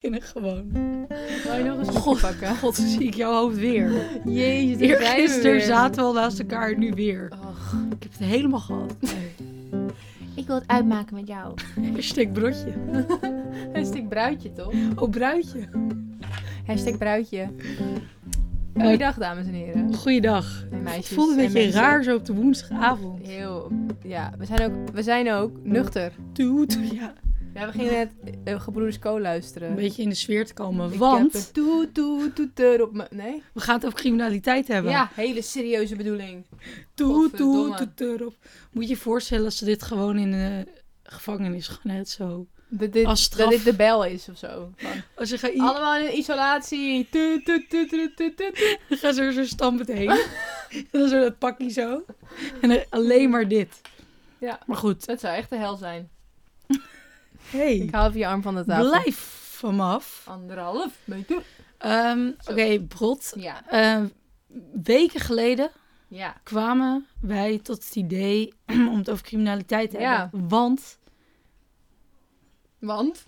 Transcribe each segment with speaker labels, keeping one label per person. Speaker 1: beginnen gewoon.
Speaker 2: Wou je nog eens
Speaker 1: God.
Speaker 2: pakken?
Speaker 1: God, zie ik jouw hoofd weer.
Speaker 2: Jezus, daar zijn we
Speaker 1: Eergisteren
Speaker 2: weer.
Speaker 1: zaten we al naast elkaar, nu weer.
Speaker 2: Ach,
Speaker 1: Ik heb het helemaal gehad.
Speaker 2: ik wil het uitmaken met jou.
Speaker 1: Hashtag broodje.
Speaker 2: Hashtag bruidje, toch?
Speaker 1: Oh, bruidje.
Speaker 2: Hashtag bruidje. Goeiedag, dames en heren.
Speaker 1: Goeiedag.
Speaker 2: En
Speaker 1: Het
Speaker 2: meisjes
Speaker 1: voelde een
Speaker 2: en
Speaker 1: beetje
Speaker 2: mensen.
Speaker 1: raar zo op de woensdagavond.
Speaker 2: Heel, ja. We zijn ook, we zijn ook nuchter.
Speaker 1: Toet. Ja,
Speaker 2: Ja, we gingen net eh, Gebroeders Co luisteren.
Speaker 1: een beetje in de sfeer te komen.
Speaker 2: Ik heb
Speaker 1: Want
Speaker 2: een toet, toet, toeter op mijn... Nee?
Speaker 1: we gaan het over criminaliteit hebben.
Speaker 2: Ja, hele serieuze bedoeling.
Speaker 1: Toet, toet,
Speaker 2: godverdomme.
Speaker 1: toet erop. Moet je je voorstellen als ze dit gewoon in de gevangenis gaan net zo.
Speaker 2: Dat dit,
Speaker 1: Als straf.
Speaker 2: dat dit de bel is of zo. Van,
Speaker 1: Als ze gaan, i-
Speaker 2: allemaal in isolatie. Toet, toet, toet, toet, toet, toet.
Speaker 1: gaan ze er zo stampend heen. en dan zo dat pakje zo. En dan alleen maar dit.
Speaker 2: Ja.
Speaker 1: Maar goed,
Speaker 2: Dat zou echt de hel zijn.
Speaker 1: hey.
Speaker 2: Ik hou even je arm van de tafel.
Speaker 1: Blijf van me af.
Speaker 2: Anderhalf meter.
Speaker 1: Ehm, Oké,
Speaker 2: Zo.
Speaker 1: Brot.
Speaker 2: Ja,
Speaker 1: Ehm, weken geleden
Speaker 2: ja.
Speaker 1: kwamen wij tot het idee om het over criminaliteit te hebben. Want
Speaker 2: Want?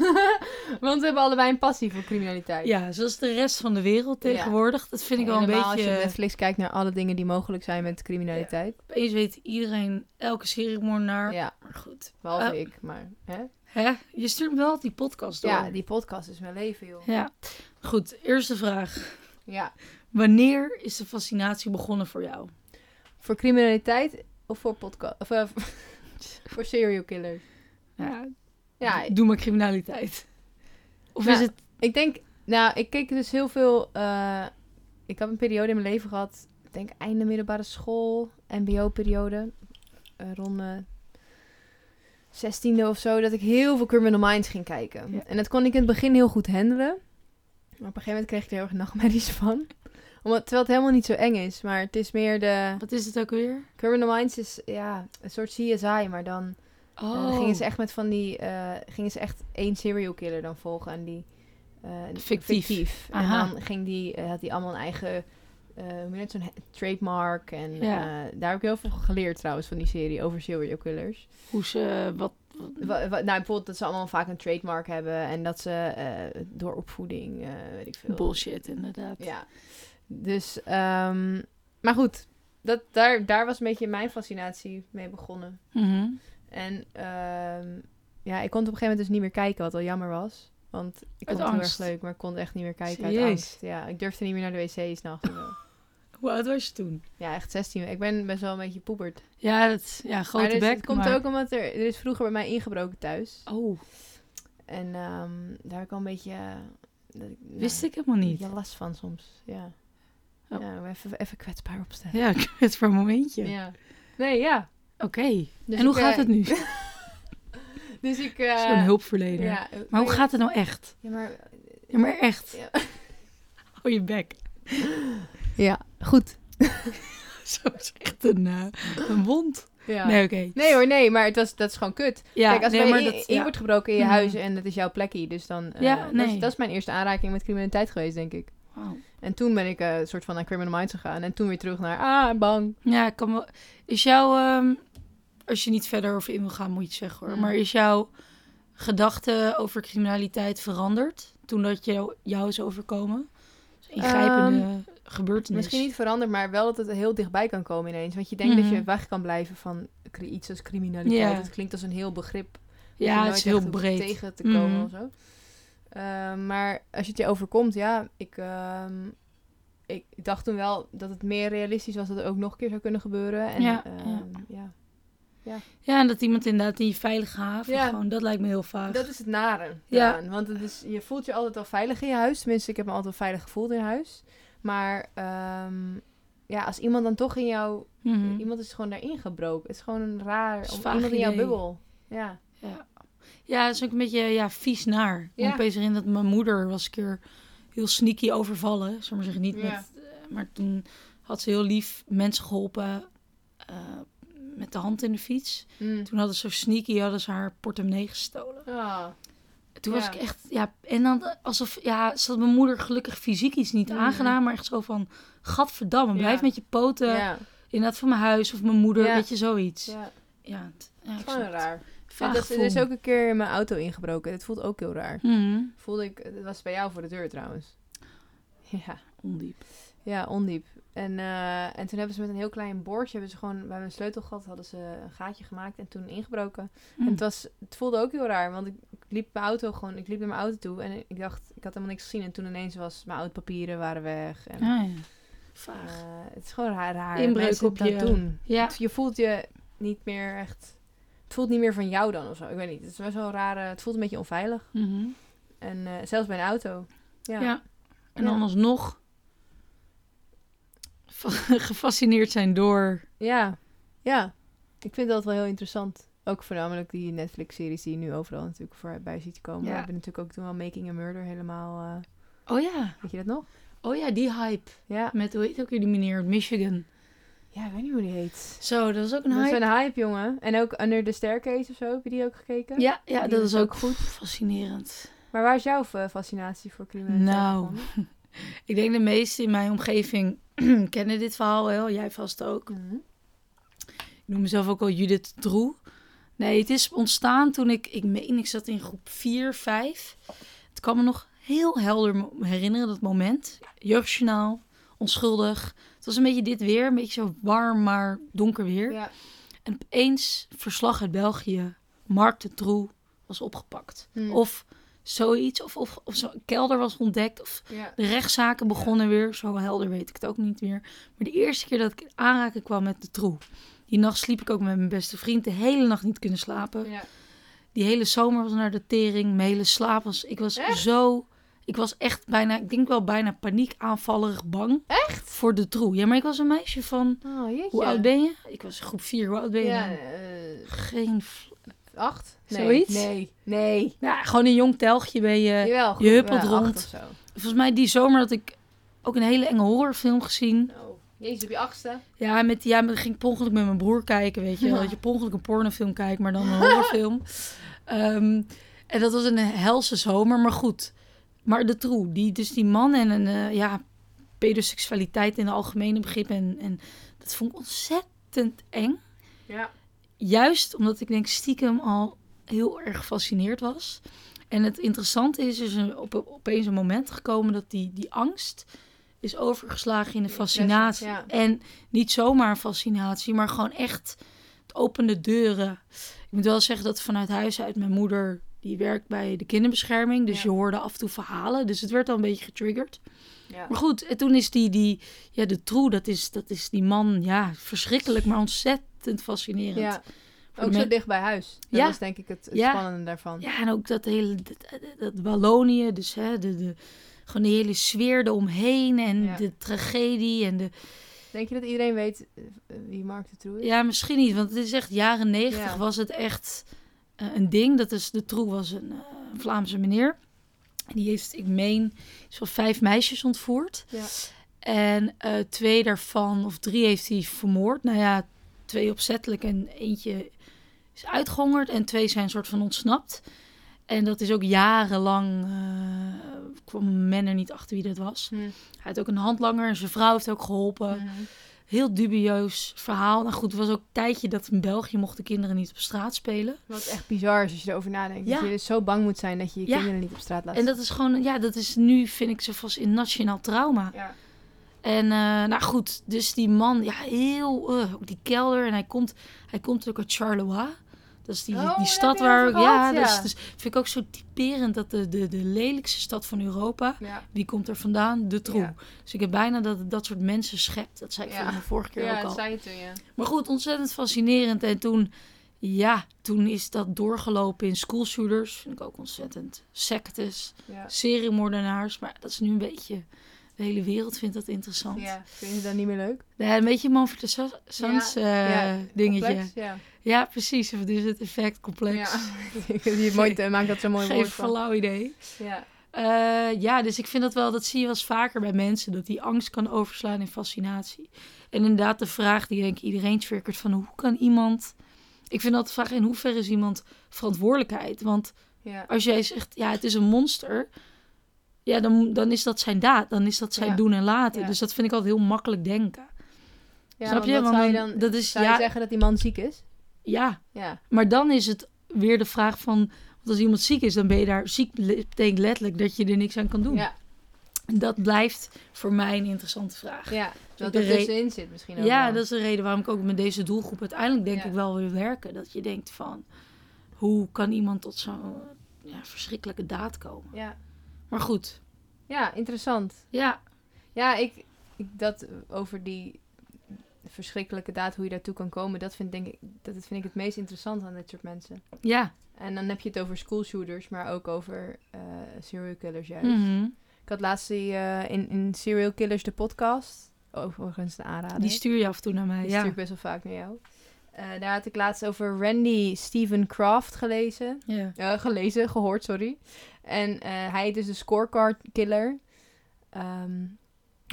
Speaker 2: Want we hebben allebei een passie voor criminaliteit.
Speaker 1: ja, zoals de rest van de wereld
Speaker 2: Ja.
Speaker 1: tegenwoordig, dat vind ik wel een
Speaker 2: Helemaal
Speaker 1: beetje.
Speaker 2: als je op Netflix kijkt naar alle dingen die mogelijk zijn met criminaliteit.
Speaker 1: Opeens weet iedereen elke
Speaker 2: Ja,
Speaker 1: seriemoordenaar. Maar goed.
Speaker 2: behalve
Speaker 1: Eh,
Speaker 2: ik, maar... Hè?
Speaker 1: Hè? Je stuurt me wel die podcast door.
Speaker 2: Ja, die podcast is mijn leven, joh.
Speaker 1: ja. Goed, eerste vraag.
Speaker 2: Ja.
Speaker 1: Wanneer is de fascinatie begonnen voor jou?
Speaker 2: Voor criminaliteit of voor podcast... Of, eh, voor serial killers.
Speaker 1: Ja,
Speaker 2: Ja,
Speaker 1: Doe maar criminaliteit. Of
Speaker 2: Nou,
Speaker 1: is het...
Speaker 2: Ik denk, nou, ik keek dus heel veel. eh, ik heb een periode in mijn leven gehad. Ik denk einde middelbare school, MBO-periode. eh, rond de 16e of zo. Dat ik heel veel Criminal Minds ging kijken.
Speaker 1: Ja.
Speaker 2: En dat kon ik in het begin heel goed handelen. Maar op een gegeven moment kreeg ik er heel erg nachtmerries van. Omdat, terwijl het helemaal niet zo eng is. Maar het is meer de.
Speaker 1: Wat is het ook weer?
Speaker 2: Criminal Minds is ja, een soort CSI, maar dan.
Speaker 1: Oh.
Speaker 2: En Eh, dan gingen ze echt met van die, eh, gingen ze echt één serial killer dan volgen en die eh,
Speaker 1: Fictief. Aha.
Speaker 2: En dan ging die, eh, had die allemaal een eigen, eh, hoe noem je dat, zo'n he- trademark en
Speaker 1: Ja.
Speaker 2: eh, daar heb ik heel veel geleerd trouwens van die serie over serial killers.
Speaker 1: Hoe ze... Wat...
Speaker 2: Wa- wa- nou, bijvoorbeeld dat ze allemaal vaak een trademark hebben en dat ze eh, door opvoeding, eh, weet ik veel.
Speaker 1: Bullshit, inderdaad.
Speaker 2: Ja. Dus, ehm, maar goed, dat, daar, daar was een beetje mijn fascinatie mee begonnen.
Speaker 1: Mhm.
Speaker 2: En ehm, ja, ik kon het op een gegeven moment dus niet meer kijken, wat al jammer was. Want ik
Speaker 1: Uit
Speaker 2: vond het heel
Speaker 1: angst.
Speaker 2: erg leuk, maar ik kon het echt niet meer kijken
Speaker 1: Serieus?
Speaker 2: uit angst. Ja, ik durfde niet meer naar de wc's nachts. en zo.
Speaker 1: Hoe oud was je toen?
Speaker 2: ja, echt 16. Ik ben best wel een beetje poeperd.
Speaker 1: Ja, dat, ja grote
Speaker 2: maar dus,
Speaker 1: bek.
Speaker 2: het komt
Speaker 1: maar-
Speaker 2: ook omdat er, er is vroeger bij mij ingebroken thuis.
Speaker 1: Oh,
Speaker 2: En ehm, daar heb ik al een beetje... eh, dat ik,
Speaker 1: wist
Speaker 2: nou,
Speaker 1: ik helemaal niet.
Speaker 2: Ja, last van soms, ja.
Speaker 1: Oh.
Speaker 2: Ja, even, even kwetsbaar opstaan.
Speaker 1: Ja, ik het voor een momentje.
Speaker 2: Ja. Nee, ja.
Speaker 1: Oké,
Speaker 2: Dus
Speaker 1: en hoe
Speaker 2: ik,
Speaker 1: gaat
Speaker 2: eh,
Speaker 1: het nu?
Speaker 2: Dus ik... eh,
Speaker 1: Zo'n hulpverlener.
Speaker 2: ja, eh,
Speaker 1: Maar hoe gaat het nou echt?
Speaker 2: Ja, maar
Speaker 1: Ja, maar echt.
Speaker 2: Ja.
Speaker 1: Oh, je bek.
Speaker 2: Ja, goed.
Speaker 1: Zo is echt een, eh, een wond.
Speaker 2: Ja.
Speaker 1: Nee,
Speaker 2: Nee.
Speaker 1: oké.
Speaker 2: hoor, nee, maar het was, dat is gewoon kut.
Speaker 1: Ja,
Speaker 2: Kijk, als
Speaker 1: nee,
Speaker 2: er
Speaker 1: maar
Speaker 2: in,
Speaker 1: dat-
Speaker 2: in
Speaker 1: ja.
Speaker 2: wordt gebroken in je
Speaker 1: Mhm.
Speaker 2: huis en dat is jouw plekje, dus dan... eh,
Speaker 1: Ja,
Speaker 2: dat,
Speaker 1: nee.
Speaker 2: is, dat is mijn eerste aanraking met criminaliteit geweest, denk ik.
Speaker 1: Wauw.
Speaker 2: En toen ben ik eh, een soort van naar Criminal Minds gegaan en toen weer terug naar, ah, bang.
Speaker 1: Ja, ik kan wel... Is jouw... ehm, als je niet verder over in wil gaan, moet je het zeggen hoor.
Speaker 2: Mm.
Speaker 1: Maar is jouw gedachte over criminaliteit veranderd? Toen dat jou, jou is overkomen? Dus ingrijpende gebeurtenis.
Speaker 2: Ehm, Misschien niet veranderd, maar wel dat het heel dichtbij kan komen ineens. Want je denkt
Speaker 1: Mhm.
Speaker 2: dat je weg kan blijven van cri- iets als criminaliteit.
Speaker 1: Ja.
Speaker 2: Dat klinkt als een heel begrip. dat je
Speaker 1: Ja, het
Speaker 2: nooit
Speaker 1: is heel
Speaker 2: echt hoeft
Speaker 1: breed.
Speaker 2: tegen te komen
Speaker 1: Mhm.
Speaker 2: of zo. Eh, maar als je het je overkomt, ja, ik, ehm, ik dacht toen wel dat het meer realistisch was dat het ook nog een keer zou kunnen gebeuren. En,
Speaker 1: Ja,
Speaker 2: ehm,
Speaker 1: ja.
Speaker 2: ja.
Speaker 1: Ja, en dat iemand inderdaad in je veilige haven
Speaker 2: Ja.
Speaker 1: gewoon... Dat lijkt me heel vaag.
Speaker 2: Dat is het nare.
Speaker 1: Ja.
Speaker 2: Ja. Want het is, je voelt je altijd al veilig in je huis. Tenminste, ik heb me altijd al veilig gevoeld in huis. Maar ehm, ja, als iemand dan toch in jou...
Speaker 1: Mhm.
Speaker 2: Iemand is gewoon daarin gebroken. Het is gewoon een raar...
Speaker 1: is
Speaker 2: om-
Speaker 1: een vaag
Speaker 2: iemand in jouw
Speaker 1: idee.
Speaker 2: bubbel. Ja.
Speaker 1: Ja. ja, dat is ook een beetje ja, vies naar. Ik
Speaker 2: Ja.
Speaker 1: ben opeens erin dat mijn moeder was een keer heel sneaky overvallen. Zullen we maar zeggen, niet
Speaker 2: Ja.
Speaker 1: met... eh, Maar toen had ze heel lief mensen geholpen eh, met de hand in de fiets.
Speaker 2: Mm.
Speaker 1: Toen hadden ze zo sneaky, hadden ze haar portemonnee gestolen.
Speaker 2: Ah.
Speaker 1: Toen was
Speaker 2: Ja.
Speaker 1: ik echt, ja, en dan alsof, ja, ze had mijn moeder gelukkig fysiek iets niet
Speaker 2: Mhm.
Speaker 1: aangedaan, maar echt zo van, gadverdamme,
Speaker 2: Ja.
Speaker 1: blijf met je poten
Speaker 2: ja.
Speaker 1: inderdaad van mijn huis of mijn moeder,
Speaker 2: Ja.
Speaker 1: weet je, zoiets. Ja,
Speaker 2: ja.
Speaker 1: ja, t- ja,
Speaker 2: Het
Speaker 1: ik
Speaker 2: is gewoon
Speaker 1: snap het.
Speaker 2: raar.
Speaker 1: vaag
Speaker 2: dat, er
Speaker 1: Ah, gevoel.
Speaker 2: is ook een keer in mijn auto ingebroken. Dat voelt ook heel raar.
Speaker 1: Mhm.
Speaker 2: Voelde ik, dat was bij jou voor de deur trouwens. Ja,
Speaker 1: Ondiep.
Speaker 2: ja ondiep. En, eh, en toen hebben ze met een heel klein boordje, hebben ze gewoon bij mijn sleutelgat, hadden ze een gaatje gemaakt en toen ingebroken.
Speaker 1: Mhm. Hmm.
Speaker 2: En het, was, het voelde ook heel raar, want ik, ik liep mijn auto gewoon, ik liep naar mijn auto toe en ik dacht, ik had helemaal niks gezien. En toen ineens was mijn oud papieren waren weg. En,
Speaker 1: Ah, ja. Vaag.
Speaker 2: eh, het is gewoon raar, raar. dat
Speaker 1: Inbreuk
Speaker 2: mensen
Speaker 1: op
Speaker 2: dat
Speaker 1: je-
Speaker 2: doen.
Speaker 1: Ja,
Speaker 2: Het- Je voelt je niet meer echt, het voelt niet meer van jou dan of zo. Ik weet niet, het is best wel raar, eh, het voelt een beetje onveilig.
Speaker 1: mhm.
Speaker 2: En eh, zelfs bij een auto. Ja.
Speaker 1: ja. En
Speaker 2: Ja.
Speaker 1: dan alsnog va- gefascineerd zijn door...
Speaker 2: Ja, ja. Ik vind dat wel heel interessant. Ook voornamelijk die Netflix-series die je nu overal natuurlijk voorbij ziet komen.
Speaker 1: Ja.
Speaker 2: We hebben natuurlijk ook toen wel Making a Murder helemaal... eh,
Speaker 1: Oh ja,
Speaker 2: weet je dat nog?
Speaker 1: oh ja, die hype.
Speaker 2: Ja.
Speaker 1: Met, hoe heet ook weer die meneer uit Michigan?
Speaker 2: Ja, ik weet niet hoe die heet.
Speaker 1: Zo, dat was ook een
Speaker 2: Dat is
Speaker 1: hype.
Speaker 2: een hype, jongen. En ook Under the Staircase of zo. Heb je die ook gekeken?
Speaker 1: Ja, ja
Speaker 2: Die
Speaker 1: dat
Speaker 2: is
Speaker 1: is
Speaker 2: ook
Speaker 1: ook goed. Fascinerend.
Speaker 2: Maar waar is jouw eh, fascinatie voor criminaliteit
Speaker 1: Nou.
Speaker 2: begonnen?
Speaker 1: Ik denk de meesten in mijn omgeving kennen dit verhaal wel. Jij vast ook.
Speaker 2: Mhm.
Speaker 1: Ik noem mezelf ook al Judith Droe. Nee, het is ontstaan toen ik, ik meen, ik zat in groep 4, 5. Het kan me nog heel helder mo- herinneren, dat moment. Jeugdjournaal, onschuldig. Het was een beetje dit weer, een beetje zo warm, maar donker weer.
Speaker 2: Ja.
Speaker 1: En opeens verslag uit België. Mark de Troe was opgepakt.
Speaker 2: Hmm.
Speaker 1: Of zoiets. Of, of, of zo'n kelder was ontdekt. Of
Speaker 2: Ja.
Speaker 1: de rechtszaken begonnen weer. Zo helder weet ik het ook niet meer. Maar de eerste keer dat ik in aanraking kwam met de Troe. Die nacht sliep ik ook met mijn beste vriend. De hele nacht niet kunnen slapen.
Speaker 2: Ja.
Speaker 1: Die hele zomer was naar de tering. Mijn hele slaap was... Ik was
Speaker 2: Echt?
Speaker 1: zo... Ik was echt bijna... Ik denk wel bijna paniekaanvallerig bang. Echt? Voor de Troe. Ja, maar ik was een meisje van...
Speaker 2: Oh, jeetje.
Speaker 1: Hoe oud ben je? Ik was groep 4. Hoe oud ben je?
Speaker 2: Ja,
Speaker 1: dan?
Speaker 2: eh,
Speaker 1: Geen fl-
Speaker 2: acht? Nee.
Speaker 1: Zoiets?
Speaker 2: Nee. Nee.
Speaker 1: Ja, gewoon een jong telgje ben je.
Speaker 2: Jawel,
Speaker 1: je huppelt
Speaker 2: eh, acht
Speaker 1: rond.
Speaker 2: of zo.
Speaker 1: Volgens mij die zomer had ik ook een hele enge horrorfilm gezien.
Speaker 2: Oh. Jezus, op je achtste?
Speaker 1: Ja, met, ja, maar ik ging per ongeluk met mijn broer kijken, weet je. wel.
Speaker 2: Ja.
Speaker 1: Dat je per ongeluk een pornofilm kijkt, maar dan een horrorfilm. Ehm, en dat was een helse zomer, maar goed. Maar de troe, die, dus die man en een, eh, ja, pedoseksualiteit in de algemene begrip. En, en dat vond ik ontzettend eng.
Speaker 2: Ja.
Speaker 1: juist omdat ik denk stiekem al heel erg gefascineerd was. En het interessante is, is er op, opeens een moment gekomen dat die, die angst is overgeslagen in een
Speaker 2: In
Speaker 1: fascinatie.
Speaker 2: obsessie,
Speaker 1: En niet zomaar een fascinatie, maar gewoon echt het opende deuren. Ik moet wel zeggen dat vanuit huis uit mijn moeder, die werkt bij de kinderbescherming. Dus
Speaker 2: Ja.
Speaker 1: je hoorde af en toe verhalen. Dus het werd al een beetje getriggerd.
Speaker 2: Ja.
Speaker 1: Maar goed, en toen is die, die ja, de troe, dat is, dat is die man, ja, verschrikkelijk, maar ontzettend fascinerend.
Speaker 2: ja.
Speaker 1: Voor
Speaker 2: Ook
Speaker 1: de
Speaker 2: zo
Speaker 1: men-
Speaker 2: dicht bij huis. Dat
Speaker 1: Ja.
Speaker 2: was denk ik het, het
Speaker 1: Ja.
Speaker 2: spannende daarvan.
Speaker 1: Ja, en ook dat hele, dat, dat Wallonië, dus hè, de, de, gewoon de hele sfeer eromheen en
Speaker 2: Ja.
Speaker 1: de tragedie en de...
Speaker 2: Denk je dat iedereen weet eh, wie Mark de Troe is?
Speaker 1: Ja, misschien niet, want het is echt jaren negentig
Speaker 2: Ja.
Speaker 1: was het echt eh, een ding. Dat is, de troe was een eh, Vlaamse meneer. En die heeft, ik meen, zo'n vijf meisjes ontvoerd.
Speaker 2: Ja.
Speaker 1: En eh, twee daarvan, of drie, heeft hij vermoord. Nou ja, twee opzettelijk en eentje is uitgehongerd. En twee zijn soort van ontsnapt. En dat is ook jarenlang, eh, kwam men er niet achter wie dat was.
Speaker 2: Hm.
Speaker 1: Hij had ook een handlanger en zijn vrouw heeft ook geholpen.
Speaker 2: Mhm.
Speaker 1: Heel dubieus verhaal. Nou goed, het was ook een tijdje dat in België mochten kinderen niet op straat spelen.
Speaker 2: Wat echt bizar is als je erover nadenkt.
Speaker 1: Ja.
Speaker 2: Dat je dus zo bang moet zijn dat je je
Speaker 1: Ja.
Speaker 2: kinderen niet op straat laat.
Speaker 1: En dat is gewoon, ja, dat is nu, vind ik, zo vast in nationaal trauma.
Speaker 2: Ja.
Speaker 1: En eh, nou goed, dus die man, ja, heel, eh, op die kelder. En hij komt, hij komt ook uit Charleroi. Dat is die,
Speaker 2: Oh, daar heb
Speaker 1: die
Speaker 2: je
Speaker 1: stad
Speaker 2: het
Speaker 1: waar...
Speaker 2: over
Speaker 1: ja,
Speaker 2: gehad,
Speaker 1: dat is-
Speaker 2: ja.
Speaker 1: dus vind ik ook zo typerend dat de, de, de lelijkste stad van Europa...
Speaker 2: Ja.
Speaker 1: Wie komt er vandaan? De troe.
Speaker 2: Ja.
Speaker 1: Dus ik heb bijna dat dat soort mensen schept. Dat zei ik
Speaker 2: Ja.
Speaker 1: volgens mij vorige keer ook al.
Speaker 2: dat zei je toen, ja.
Speaker 1: Maar goed, ontzettend fascinerend. En toen, ja, toen is dat doorgelopen in schoolshooters. Vind ik ook ontzettend. Sectes,
Speaker 2: Ja.
Speaker 1: seriemoordenaars. Maar dat is nu een beetje... De hele wereld vindt dat interessant.
Speaker 2: ja. Vind je dat niet meer leuk?
Speaker 1: Ja, een beetje Manfred de Sa- Sans eh,
Speaker 2: Ja,
Speaker 1: dingetje.
Speaker 2: Complex? Ja.
Speaker 1: Ja, precies. Of dus het effect complex.
Speaker 2: Ja. je maakt, eh, maakt dat zo'n mooi
Speaker 1: Geen
Speaker 2: woord van.
Speaker 1: flauw idee.
Speaker 2: Ja.
Speaker 1: Eh, ja, dus ik vind dat wel, dat zie je wel eens vaker bij mensen, dat die angst kan overslaan in fascinatie. En inderdaad de vraag die denk ik iedereen triggert van hoe kan iemand... Ik vind altijd de vraag in hoeverre is iemand verantwoordelijkheid? Want
Speaker 2: Ja.
Speaker 1: als jij zegt, ja, het is een monster, ja, dan, dan is dat zijn daad, dan is dat zijn
Speaker 2: Ja.
Speaker 1: doen en laten.
Speaker 2: Ja.
Speaker 1: Dus dat vind ik altijd heel makkelijk denken.
Speaker 2: Ja,
Speaker 1: Snap
Speaker 2: want
Speaker 1: je?
Speaker 2: wat
Speaker 1: Want
Speaker 2: zou je
Speaker 1: dan-
Speaker 2: dan,
Speaker 1: dat is-
Speaker 2: zou
Speaker 1: ja.
Speaker 2: je zeggen dat die man ziek is?
Speaker 1: Ja,
Speaker 2: Ja.
Speaker 1: Maar dan is het weer de vraag van... Want als iemand ziek is, dan ben je daar... Ziek betekent letterlijk dat je er niks aan kan doen.
Speaker 2: Ja,
Speaker 1: En dat blijft voor mij een interessante vraag.
Speaker 2: ja. Wat
Speaker 1: ben
Speaker 2: er
Speaker 1: re-
Speaker 2: tussenin zit misschien ook
Speaker 1: Ja,
Speaker 2: wel.
Speaker 1: dat is de reden waarom ik ook met deze doelgroep uiteindelijk denk
Speaker 2: Ja.
Speaker 1: ik wel wil werken. Dat je denkt van, hoe kan iemand tot zo'n ja, verschrikkelijke daad komen?
Speaker 2: Ja.
Speaker 1: Maar goed,
Speaker 2: ja, interessant.
Speaker 1: ja,
Speaker 2: Ja, ik, ik dat eh, over die verschrikkelijke daad, hoe je daartoe kan komen, dat vind, denk ik, dat vind ik het meest interessant aan dit soort mensen.
Speaker 1: ja.
Speaker 2: En dan heb je het over school shooters, maar ook over eh, serial killers juist.
Speaker 1: Mhm.
Speaker 2: Ik had laatst die, eh, in, in Serial Killers de podcast, overigens de aanrader.
Speaker 1: Die stuur je af en toe naar mij.
Speaker 2: Die
Speaker 1: ja.
Speaker 2: stuur ik best wel vaak naar jou. Eh, daar had ik laatst over Randy Steven Craft gelezen.
Speaker 1: ja.
Speaker 2: Eh, gelezen, gehoord, sorry. En eh, hij is de scorecard killer. Ehm,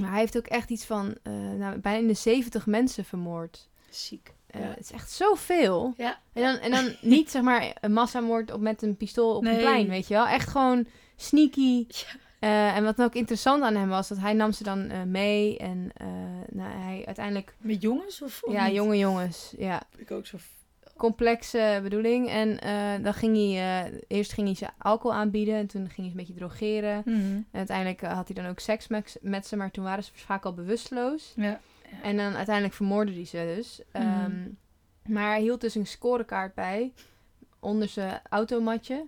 Speaker 2: maar hij heeft ook echt iets van eh, nou, bijna in de 70 mensen vermoord.
Speaker 1: Ziek.
Speaker 2: Eh,
Speaker 1: Ja.
Speaker 2: Het is echt zoveel.
Speaker 1: Ja.
Speaker 2: En dan, en dan niet zeg maar een massamoord op, met een pistool op een
Speaker 1: Nee.
Speaker 2: plein, weet je wel. Echt gewoon sneaky.
Speaker 1: Ja.
Speaker 2: Eh, en wat ook interessant aan hem was, dat hij nam ze dan eh, mee. En eh, nou, hij uiteindelijk...
Speaker 1: Met jongens of, of
Speaker 2: ja,
Speaker 1: niet?
Speaker 2: jonge jongens. Ja,
Speaker 1: Heb ik ook zo...
Speaker 2: complexe bedoeling. En eh, dan ging hij, eh, eerst ging hij ze alcohol aanbieden en toen ging hij ze een beetje drogeren.
Speaker 1: Mhm.
Speaker 2: En uiteindelijk eh, had hij dan ook seks met, met ze, maar toen waren ze vaak al bewusteloos.
Speaker 1: Ja.
Speaker 2: En dan uiteindelijk vermoordde hij ze dus.
Speaker 1: Mhm.
Speaker 2: Ehm, Maar hij hield dus een scorekaart bij onder zijn automatje.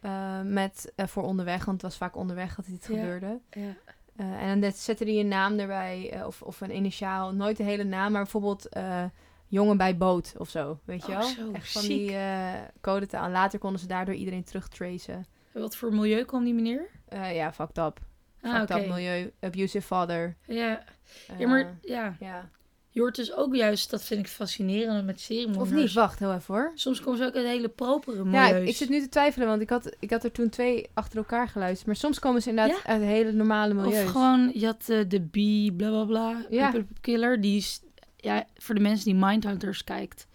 Speaker 2: eh, met, eh, voor onderweg, want het was vaak onderweg dat dit
Speaker 1: Ja.
Speaker 2: gebeurde.
Speaker 1: Ja.
Speaker 2: Eh, en dan net zette hij een naam erbij, eh, of, of een initiaal, nooit de hele naam, maar bijvoorbeeld eh, jongen bij boot of zo, weet je
Speaker 1: Oh,
Speaker 2: wel?
Speaker 1: zo,
Speaker 2: Echt van
Speaker 1: ziek.
Speaker 2: die eh codetaal. Later konden ze daardoor iedereen terugtracen.
Speaker 1: En Wat voor milieu kwam die meneer?
Speaker 2: Eh, ja, fucked up.
Speaker 1: Ah,
Speaker 2: fucked
Speaker 1: oké.
Speaker 2: up milieu, abusive father.
Speaker 1: Ja.
Speaker 2: Eh,
Speaker 1: ja, maar ja.
Speaker 2: ja.
Speaker 1: Je hoort dus ook juist, dat vind ik fascinerend met seriemoorders.
Speaker 2: Of niet, wacht, heel even hoor.
Speaker 1: Soms komen ze ook uit hele propere
Speaker 2: Ja,
Speaker 1: milieus.
Speaker 2: ik, ik zit nu te twijfelen, want ik had, ik had er toen twee achter elkaar geluisterd. Maar soms komen ze inderdaad uit hele normale milieus.
Speaker 1: Of gewoon, je had eh, de bee, bla bla bla,
Speaker 2: Ja.
Speaker 1: Up, up, up, killer. Die is, ja, voor de mensen die Mindhunters kijkt.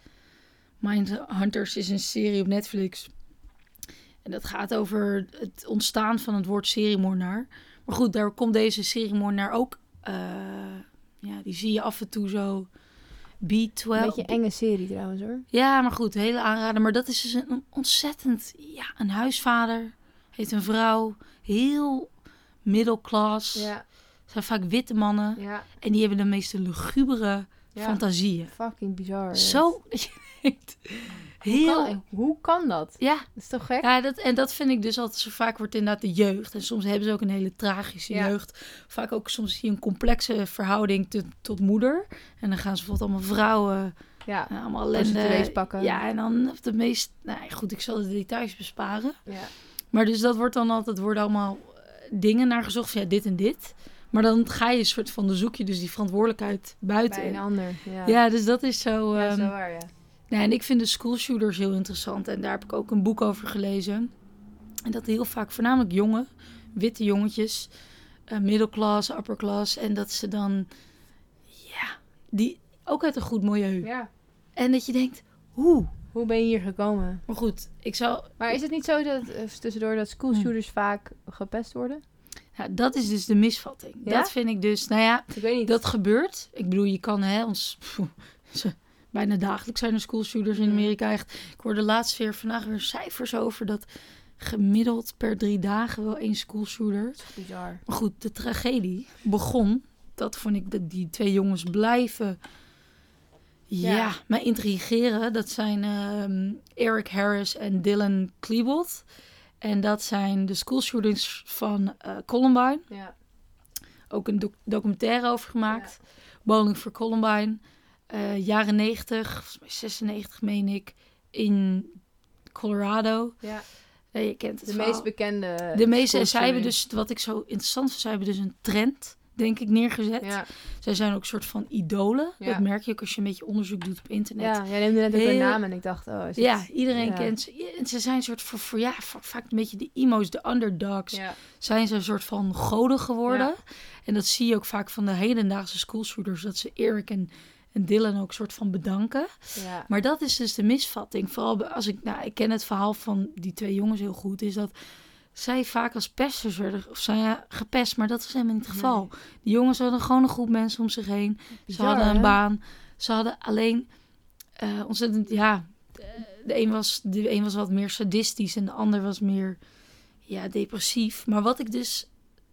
Speaker 1: Mindhunters is een serie op Netflix. En dat gaat over het ontstaan van het woord seriemoordenaar. Maar goed, daar komt deze seriemoordenaar ook... eh, ja, die zie je af en toe zo... B12.
Speaker 2: Een beetje enge serie trouwens hoor.
Speaker 1: Ja, maar goed, hele aanrader. Maar dat is dus een ontzettend, ja, een huisvader. Heeft een vrouw. Heel middelklas.
Speaker 2: Ja,
Speaker 1: zijn vaak witte mannen.
Speaker 2: ja,
Speaker 1: En die hebben de meeste lugubere
Speaker 2: ja. Oh,
Speaker 1: fantasieën.
Speaker 2: Fucking bizar.
Speaker 1: Zo dat je denkt.
Speaker 2: Kan-
Speaker 1: Heel.
Speaker 2: hoe kan dat?
Speaker 1: Ja,
Speaker 2: Dat is toch gek?
Speaker 1: ja dat, en dat vind ik dus altijd zo vaak wordt inderdaad de jeugd. En soms hebben ze ook een hele tragische
Speaker 2: Ja.
Speaker 1: jeugd. Vaak ook soms zie je een complexe verhouding te- tot moeder. En dan gaan ze bijvoorbeeld allemaal vrouwen,
Speaker 2: Ja.
Speaker 1: nou, allemaal
Speaker 2: Prostituees
Speaker 1: ellende.
Speaker 2: pakken.
Speaker 1: Ja, en dan op de meest... Nou ja, goed, ik zal de details besparen.
Speaker 2: ja.
Speaker 1: Maar dus dat wordt dan altijd, worden allemaal eh, dingen naar gezocht. Van, ja, dit en dit. Maar dan ga je een soort van, dan zoek je dus die verantwoordelijkheid buiten.
Speaker 2: Bij een ander. Ja,
Speaker 1: Ja, dus dat is zo.
Speaker 2: Ja,
Speaker 1: ehm,
Speaker 2: zo waar, ja.
Speaker 1: nee, en ik vind de schoolshooters heel interessant. En daar heb ik ook een boek over gelezen. En dat heel vaak, voornamelijk jongen, witte jongetjes, eh middelklas, upperklas. En dat ze dan, ja, die ook uit een goed milieu.
Speaker 2: ja.
Speaker 1: En dat je denkt, hoe?
Speaker 2: Hoe ben je hier gekomen?
Speaker 1: Maar goed, ik zou,
Speaker 2: Maar is het niet zo dat eh, tussendoor dat schoolshooters vaak gepest worden?
Speaker 1: ja, dat is dus de misvatting.
Speaker 2: Ja?
Speaker 1: Dat vind ik dus, nou ja,
Speaker 2: Ik weet niet.
Speaker 1: dat gebeurt. Ik bedoel, je kan hè, ons. pfoe, ze- bijna dagelijks zijn er schoolshooters in
Speaker 2: Mhm.
Speaker 1: Amerika echt. Ik hoorde laatst weer vandaag weer cijfers over dat gemiddeld per drie dagen wel één schoolshooter.
Speaker 2: is bizar.
Speaker 1: Maar goed, de tragedie begon. Dat vond ik dat die twee jongens blijven. Ja,
Speaker 2: Ja.
Speaker 1: mij intrigeren. Dat zijn ehm, Eric Harris en Dylan Klebold. En dat zijn de schoolshootings van eh, Columbine
Speaker 2: Ja.
Speaker 1: ook een doc- documentaire over gemaakt. Bowling for Columbine. eh, jaren 90, volgens mij 96 meen ik, in Colorado.
Speaker 2: ja.
Speaker 1: Eh, je kent het
Speaker 2: De
Speaker 1: verhaal.
Speaker 2: meest eh, bekende.
Speaker 1: De meeste, en zij hebben
Speaker 2: schoolshootings.
Speaker 1: dus, wat ik zo interessant vind, zij hebben dus een trend, denk ik, neergezet.
Speaker 2: Ja,
Speaker 1: Zij zijn ook een soort van idolen.
Speaker 2: Ja.
Speaker 1: Dat merk je ook als je een beetje onderzoek doet op internet.
Speaker 2: ja jij noemde net ook
Speaker 1: Heel-
Speaker 2: een naam en ik dacht, oh, is het...
Speaker 1: Ja, iedereen
Speaker 2: Ja.
Speaker 1: kent ze. Ja, En ze zijn een soort van, voor, ja, va- vaak een beetje de emo's, de underdogs.
Speaker 2: Ja.
Speaker 1: zijn ze een soort van goden geworden. En dat zie je ook vaak van de hedendaagse schoolshooters. Dat ze Eric en, en Dylan ook soort van bedanken.
Speaker 2: ja.
Speaker 1: Maar dat is dus de misvatting. Vooral bij- als ik, nou, ik ken het verhaal van die twee jongens heel goed. Is dat zij vaak als pesters werden, of zijn ja, gepest. Maar dat was helemaal niet het geval. Die jongens hadden gewoon een groep mensen om zich heen. Ze
Speaker 2: Bizar,
Speaker 1: hadden een
Speaker 2: hè?
Speaker 1: baan. Ze hadden alleen eh, ontzettend, ja, de, een was, de een was wat meer sadistisch en de ander was meer ja, depressief. Maar wat ik dus...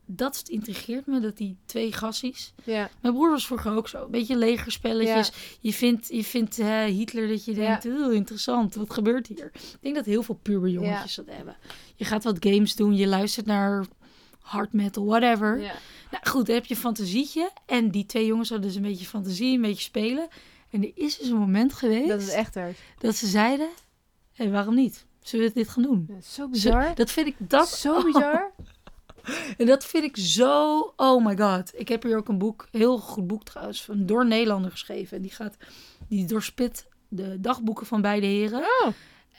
Speaker 1: Dat intrigeert me, dat die twee gassies...
Speaker 2: Ja.
Speaker 1: Mijn broer was vroeger ook zo. Een beetje legerspelletjes. Je vindt, je vindt eh, Hitler dat je
Speaker 2: Ja.
Speaker 1: denkt, heel interessant, wat gebeurt hier? Ik denk dat heel veel pure jongetjes dat hebben. Je gaat wat games doen, je luistert naar hard metal, whatever.
Speaker 2: Ja.
Speaker 1: Nou goed, dan heb je een fantasietje. En die twee jongens hadden dus een beetje fantasie, een beetje spelen. En er is dus een moment geweest
Speaker 2: Dat
Speaker 1: dat,
Speaker 2: is echt er.
Speaker 1: ze zeiden, hé, waarom niet? Zullen we dit gaan doen?
Speaker 2: Ja, zo
Speaker 1: Ze-
Speaker 2: bizar.
Speaker 1: dat vind ik dat
Speaker 2: Zo bizar.
Speaker 1: en dat vind ik zo. Oh my god. Ik heb hier ook een boek, heel goed boek trouwens, van door een Nederlander geschreven. En die gaat, die doorspit de dagboeken van beide heren.
Speaker 2: Oh.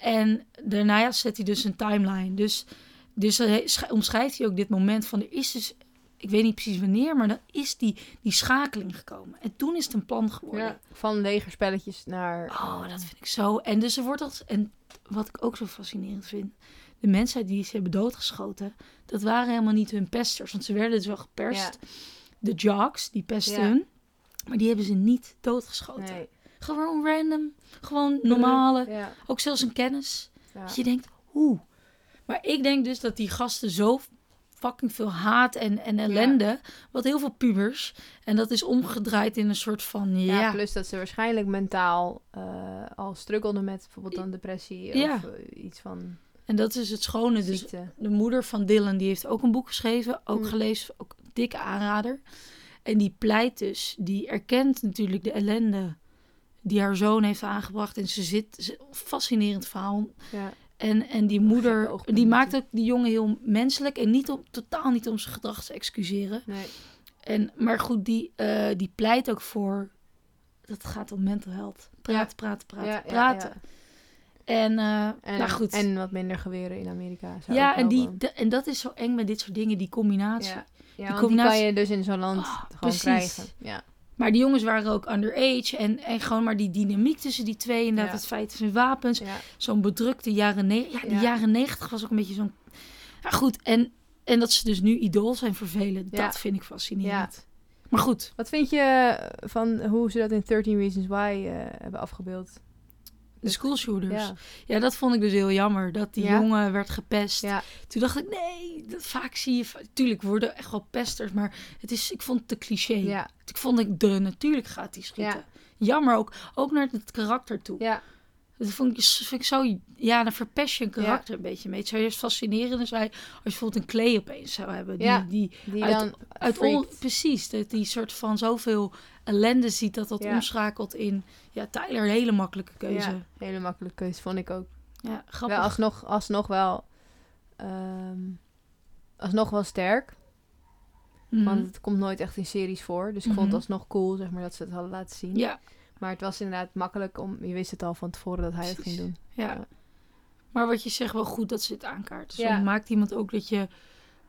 Speaker 1: En daarna ja, zet hij dus een timeline. Dus, dus hij sch- omschrijft hij ook dit moment van er is dus, ik weet niet precies wanneer, maar dan is die, die schakeling gekomen. En toen is het een plan geworden.
Speaker 2: Ja. Van legerspelletjes naar...
Speaker 1: Oh, dat vind ik zo. En dus er wordt als en wat ik ook zo fascinerend vind, de mensen die ze hebben doodgeschoten, dat waren helemaal niet hun pesters, want ze werden dus wel geperst. De jocks die pesten
Speaker 2: Ja.
Speaker 1: hun, maar die hebben ze niet doodgeschoten.
Speaker 2: Nee.
Speaker 1: Gewoon random, gewoon normale,
Speaker 2: Ja.
Speaker 1: ook zelfs een kennis.
Speaker 2: Ja.
Speaker 1: Dat je denkt, hoe? Maar ik denk dus dat die gasten zo fucking veel haat en, en ellende, wat heel veel pubers, en dat is omgedraaid in een soort van
Speaker 2: Ja,
Speaker 1: ja
Speaker 2: plus dat ze waarschijnlijk mentaal eh, al struggelden met bijvoorbeeld dan depressie
Speaker 1: Ja.
Speaker 2: of eh, iets van
Speaker 1: en dat is het schone. Dus
Speaker 2: ziekte.
Speaker 1: de moeder van Dylan, die heeft ook een boek geschreven, ook
Speaker 2: Mm.
Speaker 1: gelezen, ook een dikke aanrader. En die pleit dus, die erkent natuurlijk de ellende die haar zoon heeft aangebracht. En ze zit, ze, fascinerend verhaal.
Speaker 2: Ja.
Speaker 1: En, en die moeder,
Speaker 2: oogpunt
Speaker 1: die maakt ook die jongen heel menselijk en niet om, totaal niet om zijn gedrag te excuseren.
Speaker 2: Nee.
Speaker 1: En, maar goed, die, eh, die pleit ook voor, dat gaat om mental health. Praten, praten, praten,
Speaker 2: Ja, ja,
Speaker 1: praten.
Speaker 2: ja.
Speaker 1: En, eh,
Speaker 2: En,
Speaker 1: nou goed.
Speaker 2: en wat minder geweren in Amerika. zou eh,
Speaker 1: ja,
Speaker 2: ook
Speaker 1: en, die,
Speaker 2: helpen.
Speaker 1: de- en dat is zo eng met dit soort dingen, die combinatie.
Speaker 2: Ja, ja
Speaker 1: die
Speaker 2: want die kan
Speaker 1: combinatie-
Speaker 2: je dus in zo'n land
Speaker 1: Ah,
Speaker 2: gewoon
Speaker 1: precies.
Speaker 2: krijgen. Ja.
Speaker 1: Maar die jongens waren ook underage. En, en gewoon maar die dynamiek tussen die twee. Inderdaad,
Speaker 2: Ja.
Speaker 1: het feit van wapens.
Speaker 2: Ja.
Speaker 1: Zo'n bedrukte jaren negentig. Ja, die
Speaker 2: Ja.
Speaker 1: jaren negentig was ook een beetje zo'n... Ja, goed. En, en dat ze dus nu idool zijn voor velen.
Speaker 2: Ja.
Speaker 1: Dat vind ik fascinerend. Maar goed.
Speaker 2: Wat vind je van hoe ze dat in 13 Reasons Why eh, hebben afgebeeld?
Speaker 1: De school shooters.
Speaker 2: Ja.
Speaker 1: Ja. dat vond ik dus heel jammer. Dat die
Speaker 2: Ja.
Speaker 1: jongen werd gepest.
Speaker 2: Ja.
Speaker 1: Toen dacht ik, nee, dat vaak zie je... va- Tuurlijk worden echt wel pesters. Maar het is, ik vond het te cliché.
Speaker 2: Ja.
Speaker 1: Ik vond ik de natuurlijk gaat die schieten. Jammer ook. Ook naar het karakter toe.
Speaker 2: Ja.
Speaker 1: Dat vond ik, vind ik zo... Ja, dan verpest je een karakter een beetje mee. Het zou juist fascinerend zijn als je bijvoorbeeld een Clay opeens zou hebben. Die,
Speaker 2: Ja.
Speaker 1: die
Speaker 2: Die
Speaker 1: Uit-
Speaker 2: dan
Speaker 1: uit on, precies, dat die soort van zoveel ellende ziet... dat dat
Speaker 2: Ja.
Speaker 1: omschakelt in... Ja, Tyler, een hele makkelijke keuze.
Speaker 2: Ja,
Speaker 1: Ja,
Speaker 2: hele makkelijke keuze vond ik ook.
Speaker 1: grappig.
Speaker 2: Wel, alsnog, alsnog wel... ehm, alsnog wel sterk.
Speaker 1: Mhm.
Speaker 2: Want het komt nooit echt in series voor. Dus ik vond
Speaker 1: Mhm.
Speaker 2: het alsnog cool, zeg maar, dat ze het hadden laten zien.
Speaker 1: Ja,
Speaker 2: Maar het was inderdaad makkelijk om... Je wist het al van tevoren dat hij het ging
Speaker 1: Precies.
Speaker 2: doen. Ja.
Speaker 1: ja. Maar wat je zegt, wel goed dat ze het aankaart. Zo
Speaker 2: Ja.
Speaker 1: maakt iemand ook dat je...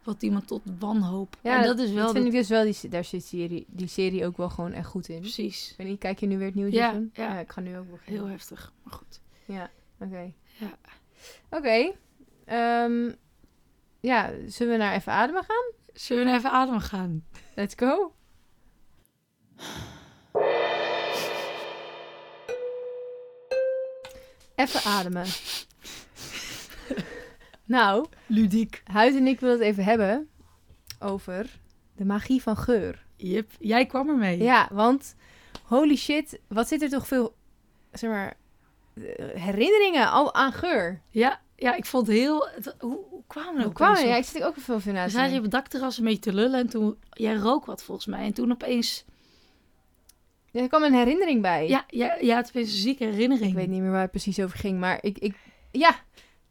Speaker 1: Wat iemand tot wanhoop.
Speaker 2: Ja,
Speaker 1: en dat is wel...
Speaker 2: dat vind
Speaker 1: dat-
Speaker 2: ik dus wel... Die, daar zit die serie, die serie ook wel gewoon echt goed in. Ik
Speaker 1: Precies.
Speaker 2: weet niet, kijk je nu weer het nieuws?
Speaker 1: Ja,
Speaker 2: even?
Speaker 1: ja.
Speaker 2: Ik ga nu ook beginnen.
Speaker 1: Heel heftig. Maar goed.
Speaker 2: Ja, oké.
Speaker 1: Ja.
Speaker 2: Oké. ehm, ja, zullen we naar even ademen gaan?
Speaker 1: Zullen we nou even ademen gaan?
Speaker 2: Let's go. Even ademen. nou,
Speaker 1: Ludiek.
Speaker 2: Huid en ik willen het even hebben over de magie van geur.
Speaker 1: Jip, jij kwam ermee.
Speaker 2: Ja, want holy shit, wat zit er toch veel, zeg maar, eh, herinneringen al aan geur.
Speaker 1: ja, ja, ik vond heel... het- hoe, hoe kwamen we er
Speaker 2: Hoe
Speaker 1: ook
Speaker 2: kwam
Speaker 1: eens
Speaker 2: je?
Speaker 1: op?
Speaker 2: Ja, ik zit er ook veel over na
Speaker 1: We
Speaker 2: te
Speaker 1: zaten hier
Speaker 2: denken.
Speaker 1: op het dakterras een beetje te lullen en toen... Jij rook wat volgens mij. En toen opeens...
Speaker 2: Ja, Er kwam een herinnering bij.
Speaker 1: Ja, ja, ja het was een zieke herinnering.
Speaker 2: Ik weet niet meer waar het precies over ging, maar ik, ik ja,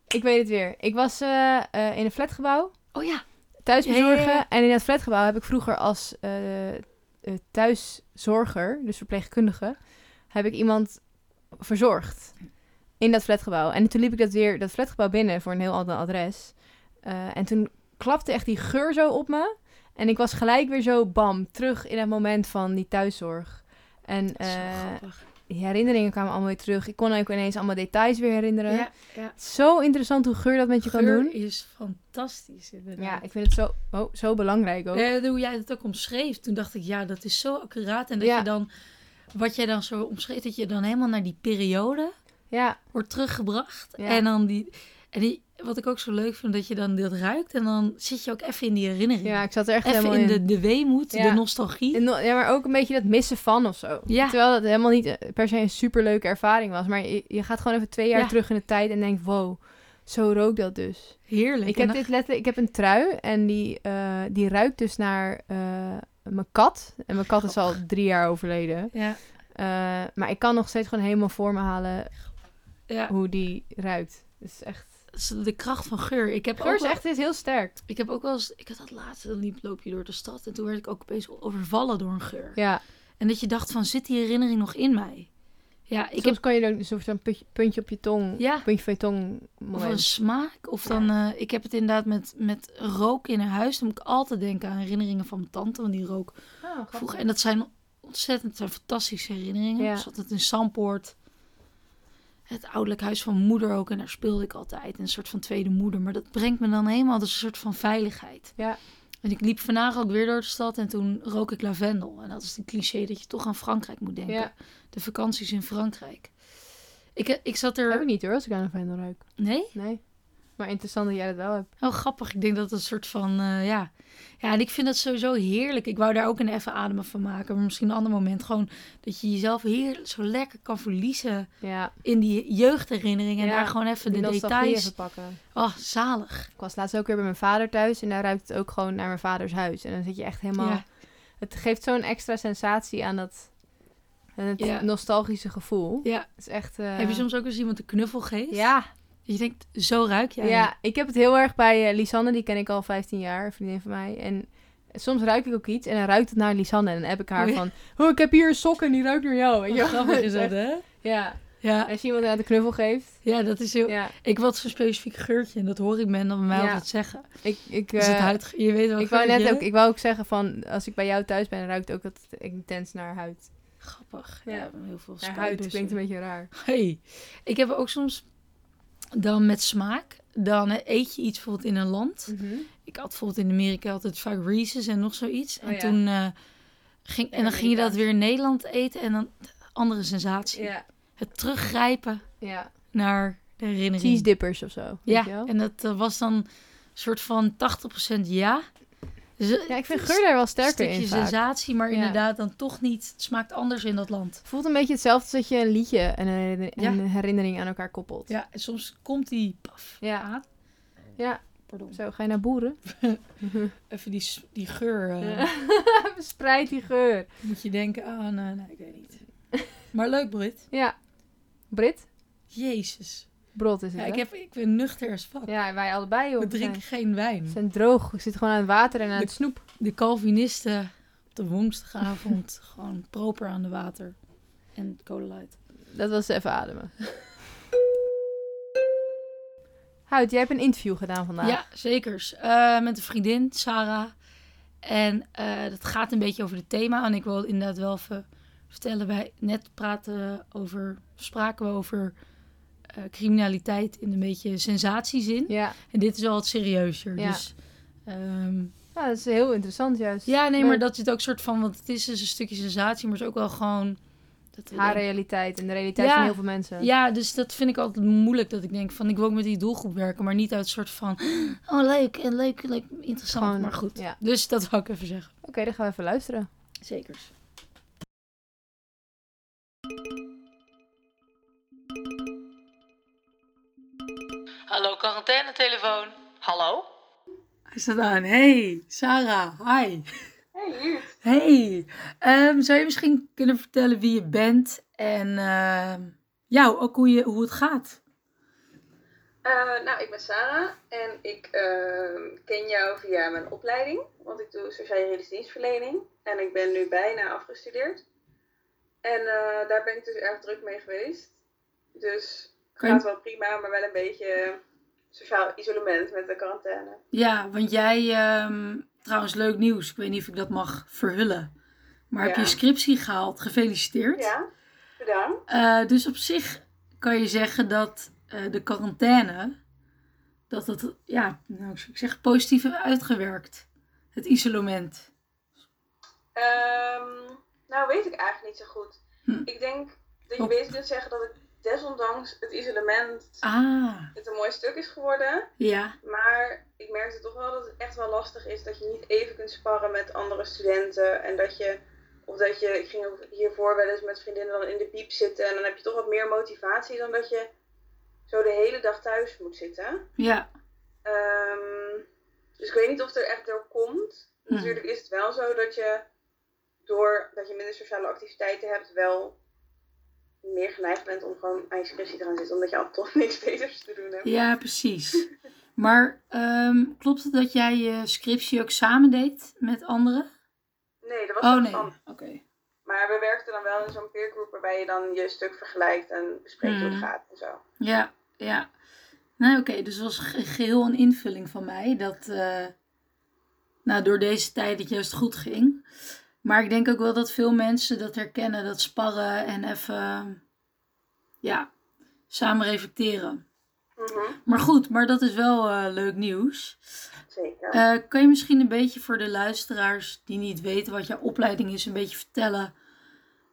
Speaker 2: ik weet het weer. Ik was eh, eh, in een flatgebouw,
Speaker 1: Oh ja.
Speaker 2: thuisbezorgen.
Speaker 1: Ja, ja, ja.
Speaker 2: En in dat flatgebouw heb ik vroeger als eh, eh, thuiszorger, dus verpleegkundige, heb ik iemand verzorgd in dat flatgebouw. En toen liep ik dat weer, dat flatgebouw binnen voor een heel ander adres. Eh, en toen klapte echt die geur zo op me. En ik was gelijk weer zo, bam, terug in het moment van die thuiszorg. En
Speaker 1: Dat is wel
Speaker 2: eh,
Speaker 1: grappig.
Speaker 2: die herinneringen kwamen allemaal weer terug. Ik kon ook ineens allemaal details weer herinneren.
Speaker 1: Ja, ja.
Speaker 2: Zo interessant hoe geur dat met je kan
Speaker 1: Geur
Speaker 2: doen.
Speaker 1: is fantastisch inderdaad.
Speaker 2: Ja, ik vind het zo, oh, zo belangrijk ook.
Speaker 1: Eh, hoe jij het ook omschreef, toen dacht ik, ja, dat is zo accuraat. En dat
Speaker 2: Ja.
Speaker 1: je dan, wat jij dan zo omschreef, dat je dan helemaal naar die periode
Speaker 2: Ja,
Speaker 1: wordt teruggebracht.
Speaker 2: Ja.
Speaker 1: En dan die, en die, wat ik ook zo leuk vind, dat je dan dat ruikt en dan zit je ook even in die herinnering.
Speaker 2: ja ik zat er echt
Speaker 1: even
Speaker 2: helemaal
Speaker 1: in de, de weemoed,
Speaker 2: Ja.
Speaker 1: de nostalgie.
Speaker 2: En no- ja, maar ook een beetje dat missen van of zo.
Speaker 1: Ja.
Speaker 2: Terwijl dat helemaal niet eh, per se een superleuke ervaring was. Maar je, je gaat gewoon even twee jaar
Speaker 1: Ja.
Speaker 2: terug in de tijd en denkt, wow, zo rook dat dus.
Speaker 1: Heerlijk.
Speaker 2: Ik
Speaker 1: En
Speaker 2: heb,
Speaker 1: dan-
Speaker 2: dit letterlijk, ik heb een trui en die, eh, die ruikt dus naar eh, mijn kat. En mijn kat is al drie jaar overleden.
Speaker 1: ja,
Speaker 2: Eh, maar ik kan nog steeds gewoon helemaal voor me halen
Speaker 1: ja,
Speaker 2: hoe die ruikt. Het is echt...
Speaker 1: dat is de kracht van geur. Ik heb,
Speaker 2: Geur
Speaker 1: ook
Speaker 2: is
Speaker 1: wel,
Speaker 2: echt is heel sterk.
Speaker 1: ik heb ook wel eens, ik had dat laatst, dan liep, loop je door de stad en toen werd ik ook opeens overvallen door een geur.
Speaker 2: Ja,
Speaker 1: En dat je dacht van, zit die herinnering nog in mij? Ja, ik
Speaker 2: soms
Speaker 1: heb
Speaker 2: kan je er ook zo'n zo'n puntje, puntje op je tong...
Speaker 1: Ja.
Speaker 2: Puntje van je tong
Speaker 1: of een
Speaker 2: moment.
Speaker 1: smaak. Of dan, eh, ik heb het inderdaad met, met rook in haar huis. Dan moet ik altijd denken aan herinneringen van mijn tante, want die rook vroeger. En dat zijn ontzettend het zijn fantastische herinneringen.
Speaker 2: Ja.
Speaker 1: Ik zat het in Sampoort. Het ouderlijk huis van moeder ook. En daar speelde ik altijd. Een soort van tweede moeder. Maar dat brengt me dan helemaal. Dat is een soort van veiligheid.
Speaker 2: Ja.
Speaker 1: En ik liep vandaag ook weer door de stad. En toen rook ik lavendel. En dat is een cliché dat je toch aan Frankrijk moet denken.
Speaker 2: Ja.
Speaker 1: De vakanties in Frankrijk. Ik, eh, ik zat
Speaker 2: Heb ik
Speaker 1: er...
Speaker 2: niet hoor, als ik aan een vendel ruik.
Speaker 1: Nee?
Speaker 2: Nee. Maar interessant dat jij dat wel hebt.
Speaker 1: Heel Oh, grappig. Ik denk dat het een soort van, eh, ja. Ja, en ik vind dat sowieso heerlijk. Ik wou daar ook een even ademen van maken. Maar misschien een ander moment. Gewoon dat je jezelf heerlijk zo lekker kan verliezen
Speaker 2: Ja,
Speaker 1: in die jeugdherinnering. En
Speaker 2: Ja,
Speaker 1: daar gewoon even de
Speaker 2: die nostalgie
Speaker 1: details.
Speaker 2: even pakken.
Speaker 1: Oh, zalig.
Speaker 2: Ik was laatst ook weer bij mijn vader thuis en daar ruikt het ook gewoon naar mijn vaders huis. En dan zit je echt helemaal...
Speaker 1: Ja.
Speaker 2: Het geeft zo'n extra sensatie aan dat aan het
Speaker 1: Ja.
Speaker 2: nostalgische gevoel.
Speaker 1: Ja.
Speaker 2: Het is echt... eh,
Speaker 1: Heb je soms ook eens iemand een knuffel geeft?
Speaker 2: Ja,
Speaker 1: Dat Je denkt, zo ruik jij.
Speaker 2: ja, ik heb het heel erg bij eh, Lisanne, die ken ik al 15 jaar, een vriendin van mij. En soms ruik ik ook iets en dan ruikt het naar Lisanne. En dan heb ik haar
Speaker 1: Oh ja.
Speaker 2: van, oh, ik heb hier een sok en die ruikt naar jou. Weet je
Speaker 1: Wat
Speaker 2: wel?
Speaker 1: grappig is dat,
Speaker 2: Echt,
Speaker 1: hè?
Speaker 2: Ja,
Speaker 1: Ja,
Speaker 2: als je iemand aan de knuffel geeft.
Speaker 1: ja dat is heel...
Speaker 2: Ja,
Speaker 1: Ik had zo'n specifiek geurtje en dat hoor ik men dan bij mij
Speaker 2: Ja.
Speaker 1: altijd zeggen.
Speaker 2: ik, ik,
Speaker 1: Dus het
Speaker 2: eh,
Speaker 1: huid... Je weet wel
Speaker 2: ik wou
Speaker 1: geurtje.
Speaker 2: net ook, ik wou ook zeggen van, als ik bij jou thuis ben, ruikt ook dat het intens naar huid.
Speaker 1: Grappig.
Speaker 2: Ja.
Speaker 1: Ja, heel veel
Speaker 2: Naar huid
Speaker 1: spuitbussen.
Speaker 2: klinkt een beetje raar.
Speaker 1: Hey, ik heb ook soms dan met smaak. Dan eh, eet je iets bijvoorbeeld in een land. Ik had bijvoorbeeld in Amerika altijd vaak Reese's en nog zoiets. En
Speaker 2: Oh ja.
Speaker 1: toen eh, ging en dan ging je dat
Speaker 2: Amerika.
Speaker 1: weer in Nederland eten en dan andere sensatie.
Speaker 2: Ja,
Speaker 1: Het teruggrijpen
Speaker 2: ja.
Speaker 1: naar de herinnering.
Speaker 2: Cheese dippers of zo. weet je
Speaker 1: ja,
Speaker 2: wel?
Speaker 1: en dat eh, was dan een soort van 80% ja. Dus, eh,
Speaker 2: ja, ik vind
Speaker 1: een
Speaker 2: geur daar wel sterker
Speaker 1: stukje
Speaker 2: in vaak.
Speaker 1: sensatie, maar
Speaker 2: Ja.
Speaker 1: inderdaad dan toch niet. Het smaakt anders in dat land.
Speaker 2: Het voelt een beetje hetzelfde als dat je een liedje en een, herinner-
Speaker 1: Ja.
Speaker 2: en een herinnering aan elkaar koppelt.
Speaker 1: Ja, en soms komt die paf
Speaker 2: Ja.
Speaker 1: aan.
Speaker 2: Ja.
Speaker 1: Pardon.
Speaker 2: Zo, ga je naar boeren?
Speaker 1: Even die, s- die geur. eh,
Speaker 2: Verspreid die geur.
Speaker 1: Moet je denken aan. eh, nee, ik weet niet. Maar leuk, Brit.
Speaker 2: Ja. Brit?
Speaker 1: Jezus.
Speaker 2: Brot is het,
Speaker 1: Ja,
Speaker 2: hè?
Speaker 1: ik, heb, ik ben nuchter als fuck.
Speaker 2: Ja, wij allebei, joh.
Speaker 1: We drinken geen
Speaker 2: We
Speaker 1: wijn.
Speaker 2: zijn droog. Ik zit gewoon aan het water en aan het snoep.
Speaker 1: De Calvinisten op de woensdagavond gewoon proper aan de water. En cola light.
Speaker 2: Dat was even ademen. Hout, jij hebt een interview gedaan vandaag.
Speaker 1: Ja, zekers. Eh, met een vriendin, Sarah. En eh, dat gaat een beetje over het thema. En ik wil inderdaad wel even vertellen. Wij net praten over, spraken we over eh, criminaliteit in een beetje sensatiezin.
Speaker 2: Ja.
Speaker 1: En dit is al wat serieuzer.
Speaker 2: Ja.
Speaker 1: Dus, ehm,
Speaker 2: Ja, dat is heel interessant juist.
Speaker 1: ja, nee, maar
Speaker 2: Leuk.
Speaker 1: dat zit ook soort van... Want het is dus een stukje sensatie, maar het is ook wel gewoon... Dat we
Speaker 2: Haar
Speaker 1: denken-
Speaker 2: realiteit en de realiteit
Speaker 1: Ja.
Speaker 2: van heel veel mensen.
Speaker 1: ja, dus dat vind ik altijd moeilijk. Dat ik denk van, ik wil ook met die doelgroep werken. Maar niet uit een soort van... Oh, leuk, en leuk, leuk, interessant,
Speaker 2: Gewoon,
Speaker 1: maar goed.
Speaker 2: ja.
Speaker 1: Dus dat wou ik even zeggen.
Speaker 2: Oké, dan gaan we even luisteren.
Speaker 1: Zeker.
Speaker 3: Hallo quarantainetelefoon. Hallo?
Speaker 1: Hij staat aan. Hey, Sarah. Hi. Hey. Ehm, zou je misschien kunnen vertellen wie je bent en ehm, ja, ook hoe, je, hoe het gaat?
Speaker 4: Eh, nou, ik ben Sarah en ik ehm, ken jou via mijn opleiding, want ik doe sociale juridische dienstverlening en ik ben nu bijna afgestudeerd. En eh, daar ben ik dus erg druk mee geweest. Dus
Speaker 1: Kan-
Speaker 4: gaat wel prima, maar wel een beetje sociaal isolement met de quarantaine.
Speaker 1: Ja, want jij, ehm, trouwens leuk nieuws, ik weet niet of ik dat mag verhullen. Maar heb
Speaker 4: Ja.
Speaker 1: je scriptie gehaald, gefeliciteerd.
Speaker 4: Ja, bedankt.
Speaker 1: Eh, dus op zich kan je zeggen dat eh, de quarantaine, dat dat, ja, nou, hoe zou ik zeg, positief heeft uitgewerkt. Het isolement.
Speaker 4: Ehm, nou, weet ik eigenlijk niet zo goed.
Speaker 1: Hm.
Speaker 4: Ik denk dat je
Speaker 1: Oh.
Speaker 4: bezig kunt zeggen dat ik desondanks het isolement
Speaker 1: Ah,
Speaker 4: het een mooi stuk is geworden.
Speaker 1: ja.
Speaker 4: Maar ik merkte toch wel dat het echt wel lastig is dat je niet even kunt sparren met andere studenten. En dat je, of dat je, ik ging ook hiervoor wel eens met vriendinnen dan in de piep zitten. En dan heb je toch wat meer motivatie dan dat je zo de hele dag thuis moet zitten.
Speaker 1: Ja.
Speaker 4: Ehm, dus ik weet niet of het er echt door komt.
Speaker 1: Hmm.
Speaker 4: Natuurlijk is het wel zo dat je door dat je minder sociale activiteiten hebt, wel meer geneigd bent om gewoon aan je scriptie te gaan zitten. Omdat je al toch niks beters te doen hebt.
Speaker 1: Ja, precies. Maar ehm, klopt het dat jij je scriptie ook samen deed met anderen?
Speaker 4: Nee, dat was
Speaker 1: Oh
Speaker 4: toch
Speaker 1: nee,
Speaker 4: anders.
Speaker 1: oké.
Speaker 4: Maar we werkten dan wel in zo'n peergroep waarbij je dan je stuk vergelijkt en bespreekt hoe het
Speaker 1: Mm.
Speaker 4: gaat en zo.
Speaker 1: Ja, ja. Nou oké, dus het was ge- geheel een invulling van mij dat eh, nou, door deze tijd het juist goed ging. Maar ik denk ook wel dat veel mensen dat herkennen, dat sparren en even ja, samen reflecteren.
Speaker 4: Mhm,
Speaker 1: Maar goed, maar dat is wel eh, leuk nieuws.
Speaker 4: Zeker.
Speaker 1: Eh, kan je misschien een beetje voor de luisteraars die niet weten wat jouw opleiding is, een beetje vertellen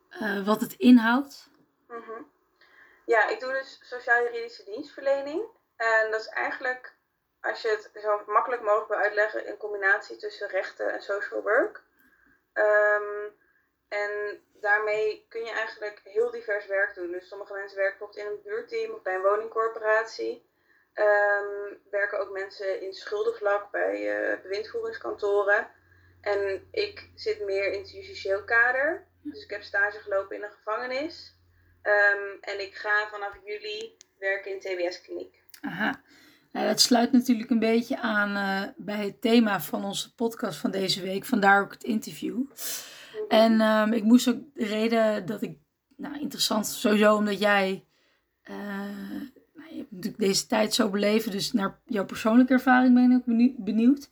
Speaker 1: eh, wat het inhoudt?
Speaker 4: Mhm. Ja, ik doe dus sociaal-juridische dienstverlening. En dat is eigenlijk, als je het zo makkelijk mogelijk wil uitleggen, een combinatie tussen rechten en social work. Ehm, en daarmee kun je eigenlijk heel divers werk doen. Dus sommige mensen werken bijvoorbeeld in een buurteam of bij een woningcorporatie. Ehm, werken ook mensen in schuldenvlak bij eh, bewindvoeringskantoren. En ik zit meer in het justitieel kader. Dus ik heb stage gelopen in een gevangenis. Ehm, en ik ga vanaf juli werken in TBS-kliniek.
Speaker 1: Aha. Nou, dat sluit natuurlijk een beetje aan eh, bij het thema van onze podcast van deze week. Vandaar ook het interview. En ehm, ik moest ook de reden dat ik, nou interessant sowieso omdat jij, eh, nou, je hebt natuurlijk deze tijd zo beleven, dus naar jouw persoonlijke ervaring ben ik ook benieu- benieuwd.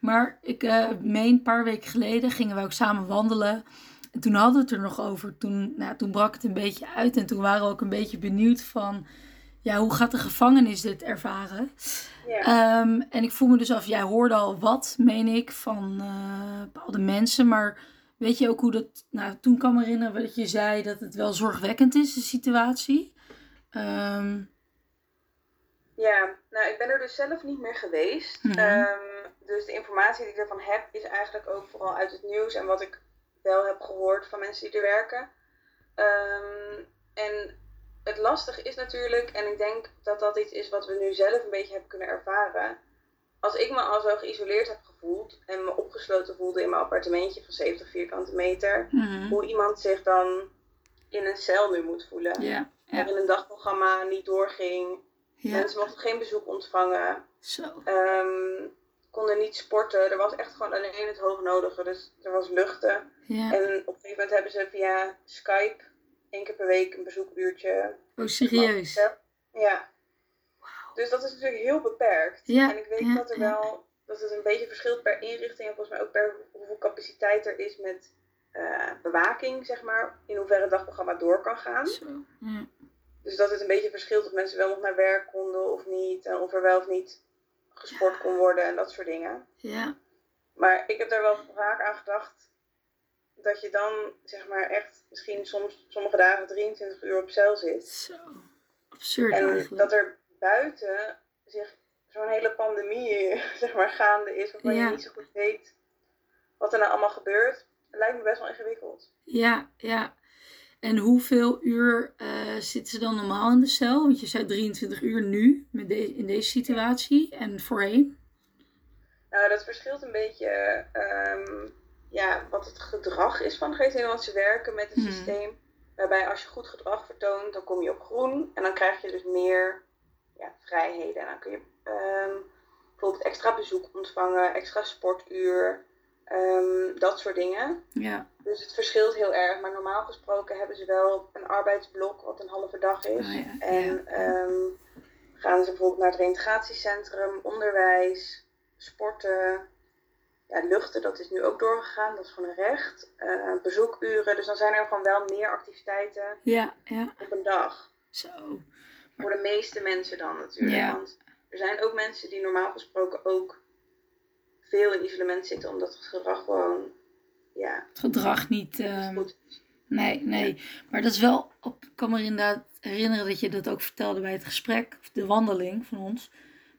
Speaker 1: Maar ik eh, meen een paar weken geleden gingen we ook samen wandelen. En toen hadden we het er nog over. Toen, nou, toen brak het een beetje uit en toen waren we ook een beetje benieuwd van, ja, hoe gaat de gevangenis dit ervaren?
Speaker 4: Ja.
Speaker 1: Ehm, en ik voel me dus af, jij hoorde al wat, meen ik, van eh, bepaalde mensen. Maar weet je ook hoe dat. Nou, toen kan me herinneren dat je zei dat het wel zorgwekkend is, de situatie. Ehm,
Speaker 4: ja, nou, ik ben er dus zelf niet meer geweest.
Speaker 1: Mhm.
Speaker 4: Ehm, dus de informatie die ik ervan heb, is eigenlijk ook vooral uit het nieuws en wat ik wel heb gehoord van mensen die er werken. Ehm, en het lastig is natuurlijk, en ik denk dat dat iets is wat we nu zelf een beetje hebben kunnen ervaren. Als ik me al zo geïsoleerd heb gevoeld en me opgesloten voelde in mijn appartementje van 70 vierkante meter,
Speaker 1: mhm.
Speaker 4: hoe iemand zich dan in een cel nu moet voelen.
Speaker 1: Ja, ja,
Speaker 4: waarin een dagprogramma niet doorging.
Speaker 1: ja.
Speaker 4: Mensen mochten geen bezoek ontvangen,
Speaker 1: Zo.
Speaker 4: ehm, konden niet sporten. Er was echt gewoon alleen het hoognodige, dus er was luchten.
Speaker 1: Ja.
Speaker 4: En op een gegeven moment hebben ze via Skype één keer per week een bezoekuurtje.
Speaker 1: Oh, serieus.
Speaker 4: Ja. Dus dat is natuurlijk heel beperkt.
Speaker 1: Ja,
Speaker 4: en ik weet
Speaker 1: ja,
Speaker 4: dat er
Speaker 1: ja.
Speaker 4: wel dat het een beetje verschilt per inrichting en volgens mij ook per hoeveel capaciteit er is met eh, bewaking, zeg maar, in hoeverre het dagprogramma door kan gaan.
Speaker 1: Zo. Ja.
Speaker 4: Dus dat het een beetje verschilt of mensen wel nog naar werk konden of niet. En of er wel of niet gesport kon worden en dat soort dingen.
Speaker 1: ja.
Speaker 4: Maar ik heb daar wel vaak aan gedacht. Dat je dan zeg maar echt misschien soms sommige dagen 23 uur op cel zit.
Speaker 1: Zo. Absurd
Speaker 4: En
Speaker 1: eigenlijk.
Speaker 4: dat er buiten zich zo'n hele pandemie zeg maar gaande is. Waarvan
Speaker 1: Ja.
Speaker 4: je niet zo goed weet wat er nou allemaal gebeurt. Lijkt me best wel ingewikkeld.
Speaker 1: Ja, ja. En hoeveel uur eh, zitten ze dan normaal in de cel? Want je zei 23 uur nu, met de- in deze situatie en voorheen.
Speaker 4: Nou, dat verschilt een beetje ehm, ja, wat het gedrag is van geestelijke. Want ze werken met een
Speaker 1: Mhm.
Speaker 4: systeem waarbij als je goed gedrag vertoont, dan kom je op groen. En dan krijg je dus meer ja, vrijheden. En dan kun je ehm, bijvoorbeeld extra bezoek ontvangen, extra sportuur, ehm, dat soort dingen.
Speaker 1: Ja.
Speaker 4: Dus het verschilt heel erg. Maar normaal gesproken hebben ze wel een arbeidsblok wat een halve dag is.
Speaker 1: Ah, ja,
Speaker 4: En ehm, gaan ze bijvoorbeeld naar het reintegratiecentrum, onderwijs, sporten. Ja, luchten, dat is nu ook doorgegaan, dat is gewoon een recht. Eh, bezoekuren, dus dan zijn er gewoon wel meer activiteiten
Speaker 1: Ja, ja.
Speaker 4: op een dag.
Speaker 1: Zo.
Speaker 4: Voor de meeste mensen dan natuurlijk.
Speaker 1: Ja.
Speaker 4: Want er zijn ook mensen die normaal gesproken ook veel in isolement zitten, omdat het gedrag gewoon, ja,
Speaker 1: Het gedrag niet.
Speaker 4: niet
Speaker 1: ehm,
Speaker 4: goed is.
Speaker 1: Nee, nee. Maar dat is wel. Ik kan me inderdaad herinneren dat je dat ook vertelde bij het gesprek, of de wandeling van ons.